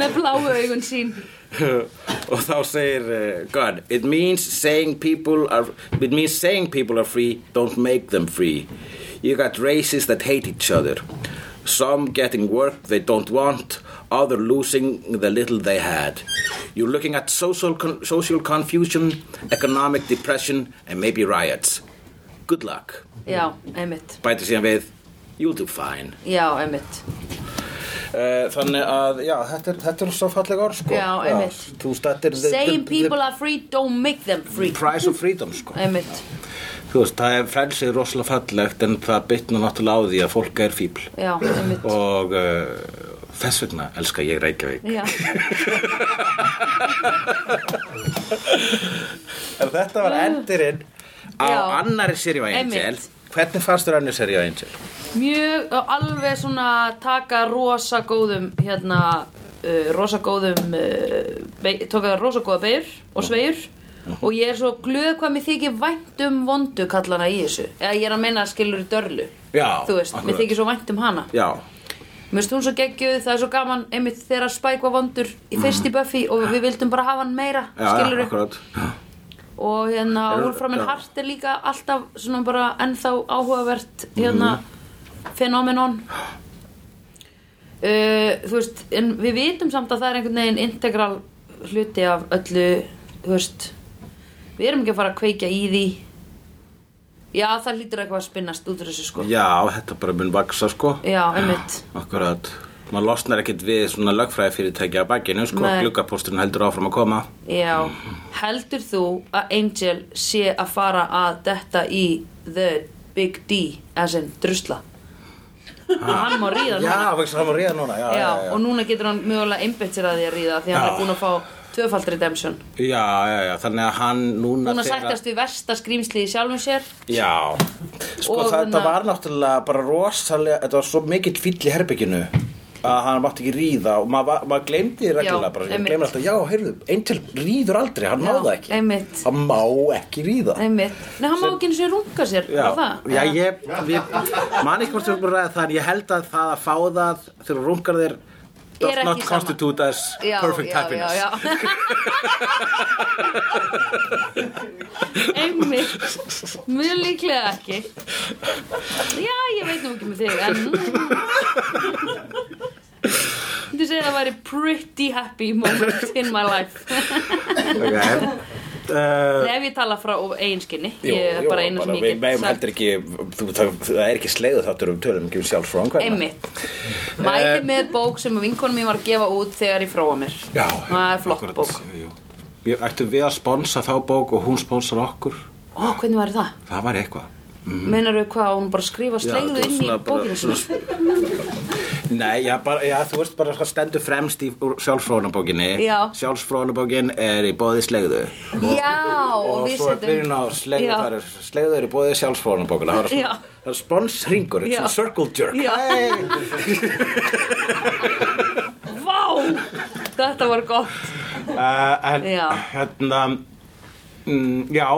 Með bláu augun sín
og þá segir uh, God it means saying people are it means saying people are free don't make them free you got races that hate each other some getting work they don't want other losing the little they had you're looking at social con- social confusion economic depression and maybe riots good luck
Já, einmitt
bæti síðan við you'll do fine
Já, einmitt
uh, þannig að já þetta er, þetta er svo falleg orð sko
Já, einmitt.
þú stættir
Same people are free, don't make them free
price of freedom sko
Einmitt,
Þú veist, það er frelsið rosalega fallegt en það bitna náttúrulega á því að fólk er fíbl
já, einmitt
og uh, þess vegna elska ég Reykjavík.
Já,
Ef þetta var endurinn á
Já.
annari Sirjó Angel,
Einmitt.
hvernig fannst þér annari Sirjó Angel?
mjög og alveg svona taka rosa góðum hérna uh, rosa góðum uh, be- tók að rosa góða beigur og sveigur og ég er svo glöð hvað mér þykir vænt um vondu kallana í þessu eða ég er að meina skilur í dörlu
Já,
þú veist,
akkurat.
mér þykir svo vænt um hana
Já,
Mér finnst hún svo geggjuð, það er svo gaman einmitt þegar Spike var vondur í fyrst í Buffy og við vildum bara hafa hann meira
já, já,
skilurðu.
akkurat.
og hérna
Er-
Wolframin
já.
Hart er líka alltaf svona bara ennþá áhugavert hérna
Mhm.
fenómenon uh, þú veist en við vitum samt að það er einhvern veginn integral hluti af öllu þú veist við erum ekki að fara að kveikja í því já það hlýtur eitthvað að spinnast út úr þessu sko
Já, þetta bara mun vaksa sko.
já einmitt
Akkurat. Man losnar ekkit við svona lögfræði fyrirtæki á bakinu sko,
Nei.
gluggapósturinn heldur áfram að koma.
Já, heldur þú að Angel sé að fara að detta í The Big D as in drusla og hann má ríða núna
Já, vegna það var ríða núna, já,
já,
já, já.
og núna getur hann mögulega einbeitt sér að því að ríða því að hann
Já.
er búin að fá tvöfald redemption
Já, já, já, þannig að hann núna
búin að
þegar-
sættast við versta skrýmsli í sjálfum sér
Já, sko
Og
þetta
hérna-
var náttúrulega bara rosalega, þetta var svo mikill fýll í herbygginu að hann mátti ekki ríða og maður mað glemdi reglulega
Já,
bara, ég
einmitt.
glemdi alltaf, já, heyrðu, Angel ríður aldrei, hann má
Já,
það ekki,
einmitt.
hann má ekki ríða.
einmitt, nei hann má ekki eins og runga sér
Já,
var það?
já, ég, ég man ekki hvort þú búið að ræða það, en ég held að það að fá það þegar þú rungar þér does
ekki
not
sama.
constitute as
já,
perfect
já,
happiness.
já, já. einmitt mjög líklega ekki já, ég veit nú ekki með þig en þú segir að það væri pretty happy moment in my life
Ok, uh,
Nei, ef ég tala frá eiginskinni
Jú,
ég er
jú,
bara eina sem ég
við
get
megum heldur ekki, þú, það, það er ekki sleiðu þáttur um tölum, ekki um sjálfsfrá
einmitt mæli með bók sem vinkonum mín var að gefa út þegar ég fróa mér
Já,
það er flott
akkurat,
bók
jú. Við ættum við að sponsa þá bók og hún sponsar okkur
ó, hvernig var það?
Það var eitthvað
Meinarðu hvað, hún bara skrifa slegðu inn í bókinu sinni?
Nei, já, bara, já, þú veist bara hvað stendur fremst í sjálfsfróðanabókinni
Já.
Sjálfsfróðanabókin er í bóði slegðu
Já, og við
svo er byrjun
setjum
á slegðu
Já.
þar er Slegðu er í bóði sjálfsfróðanabókina Það er
Já.
svona- það er sponsringur,
Já.
svona circle jerk
Já.
Hey.
Vá, þetta var gott
uh, en
Já.
hérna mm, já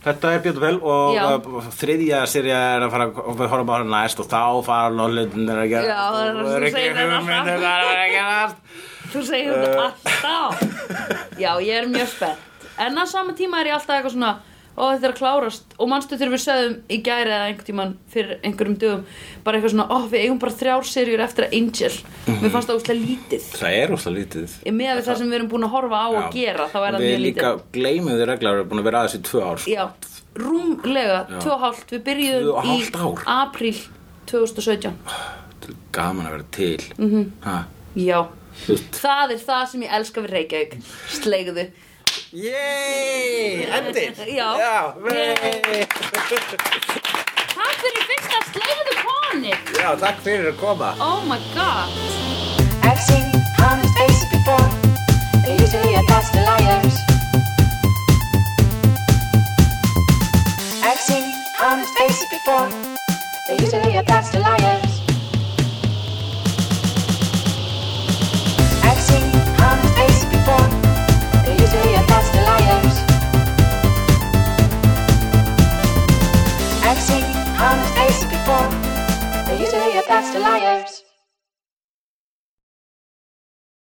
Þetta er bjönd vel og
Já.
uh, þriðja serið er að fara og við horfum bara næst og þá fara lollutin er að gera
Já, það er það sem segir þetta
hugmynd
alltaf.
hvað er að gera
Þú segir þetta
Eh.
alltaf Já, ég er mjög spennt En á sama tíma er ég alltaf eitthvað svona Ó, þetta er að klárast Og manstu þegar við sögðum í gæri eða einhvern tíman Fyrir einhverjum dögum Bara eitthvað svona, ó, við eigum bara þrjár serjur eftir að Angel
Mhm.
Mér fannst það úslega lítið
Það er úrslega lítið
Ég með við það sem við erum búin að horfa á og gera Þá er það
Við
mjög
líka
lítið
gleymum því reglar við erum búin að vera aðeins í tvö ár sko.
Já, rúmlega, tvö og hálft Við
Tvö og
byrjuðum í
hálft ár.
apríl 2017
Þetta er Gaman að vera til mm
Mhm.
-hmm.
Já, það er það sem ég elska við Reykjavík Sleigðu
Yey, endir
Já.
vey.
Takk fyrir fyrsta sleigðu koni
já, takk fyrir að koma
Oh my god
I've seen honest faces before. They're usually a cast of liars. seen honest faces before. They used to be a pass to liars. I've seen honest faces before. They used to be a pass to liars. I've seen honest faces before. They used to be a pass to liars.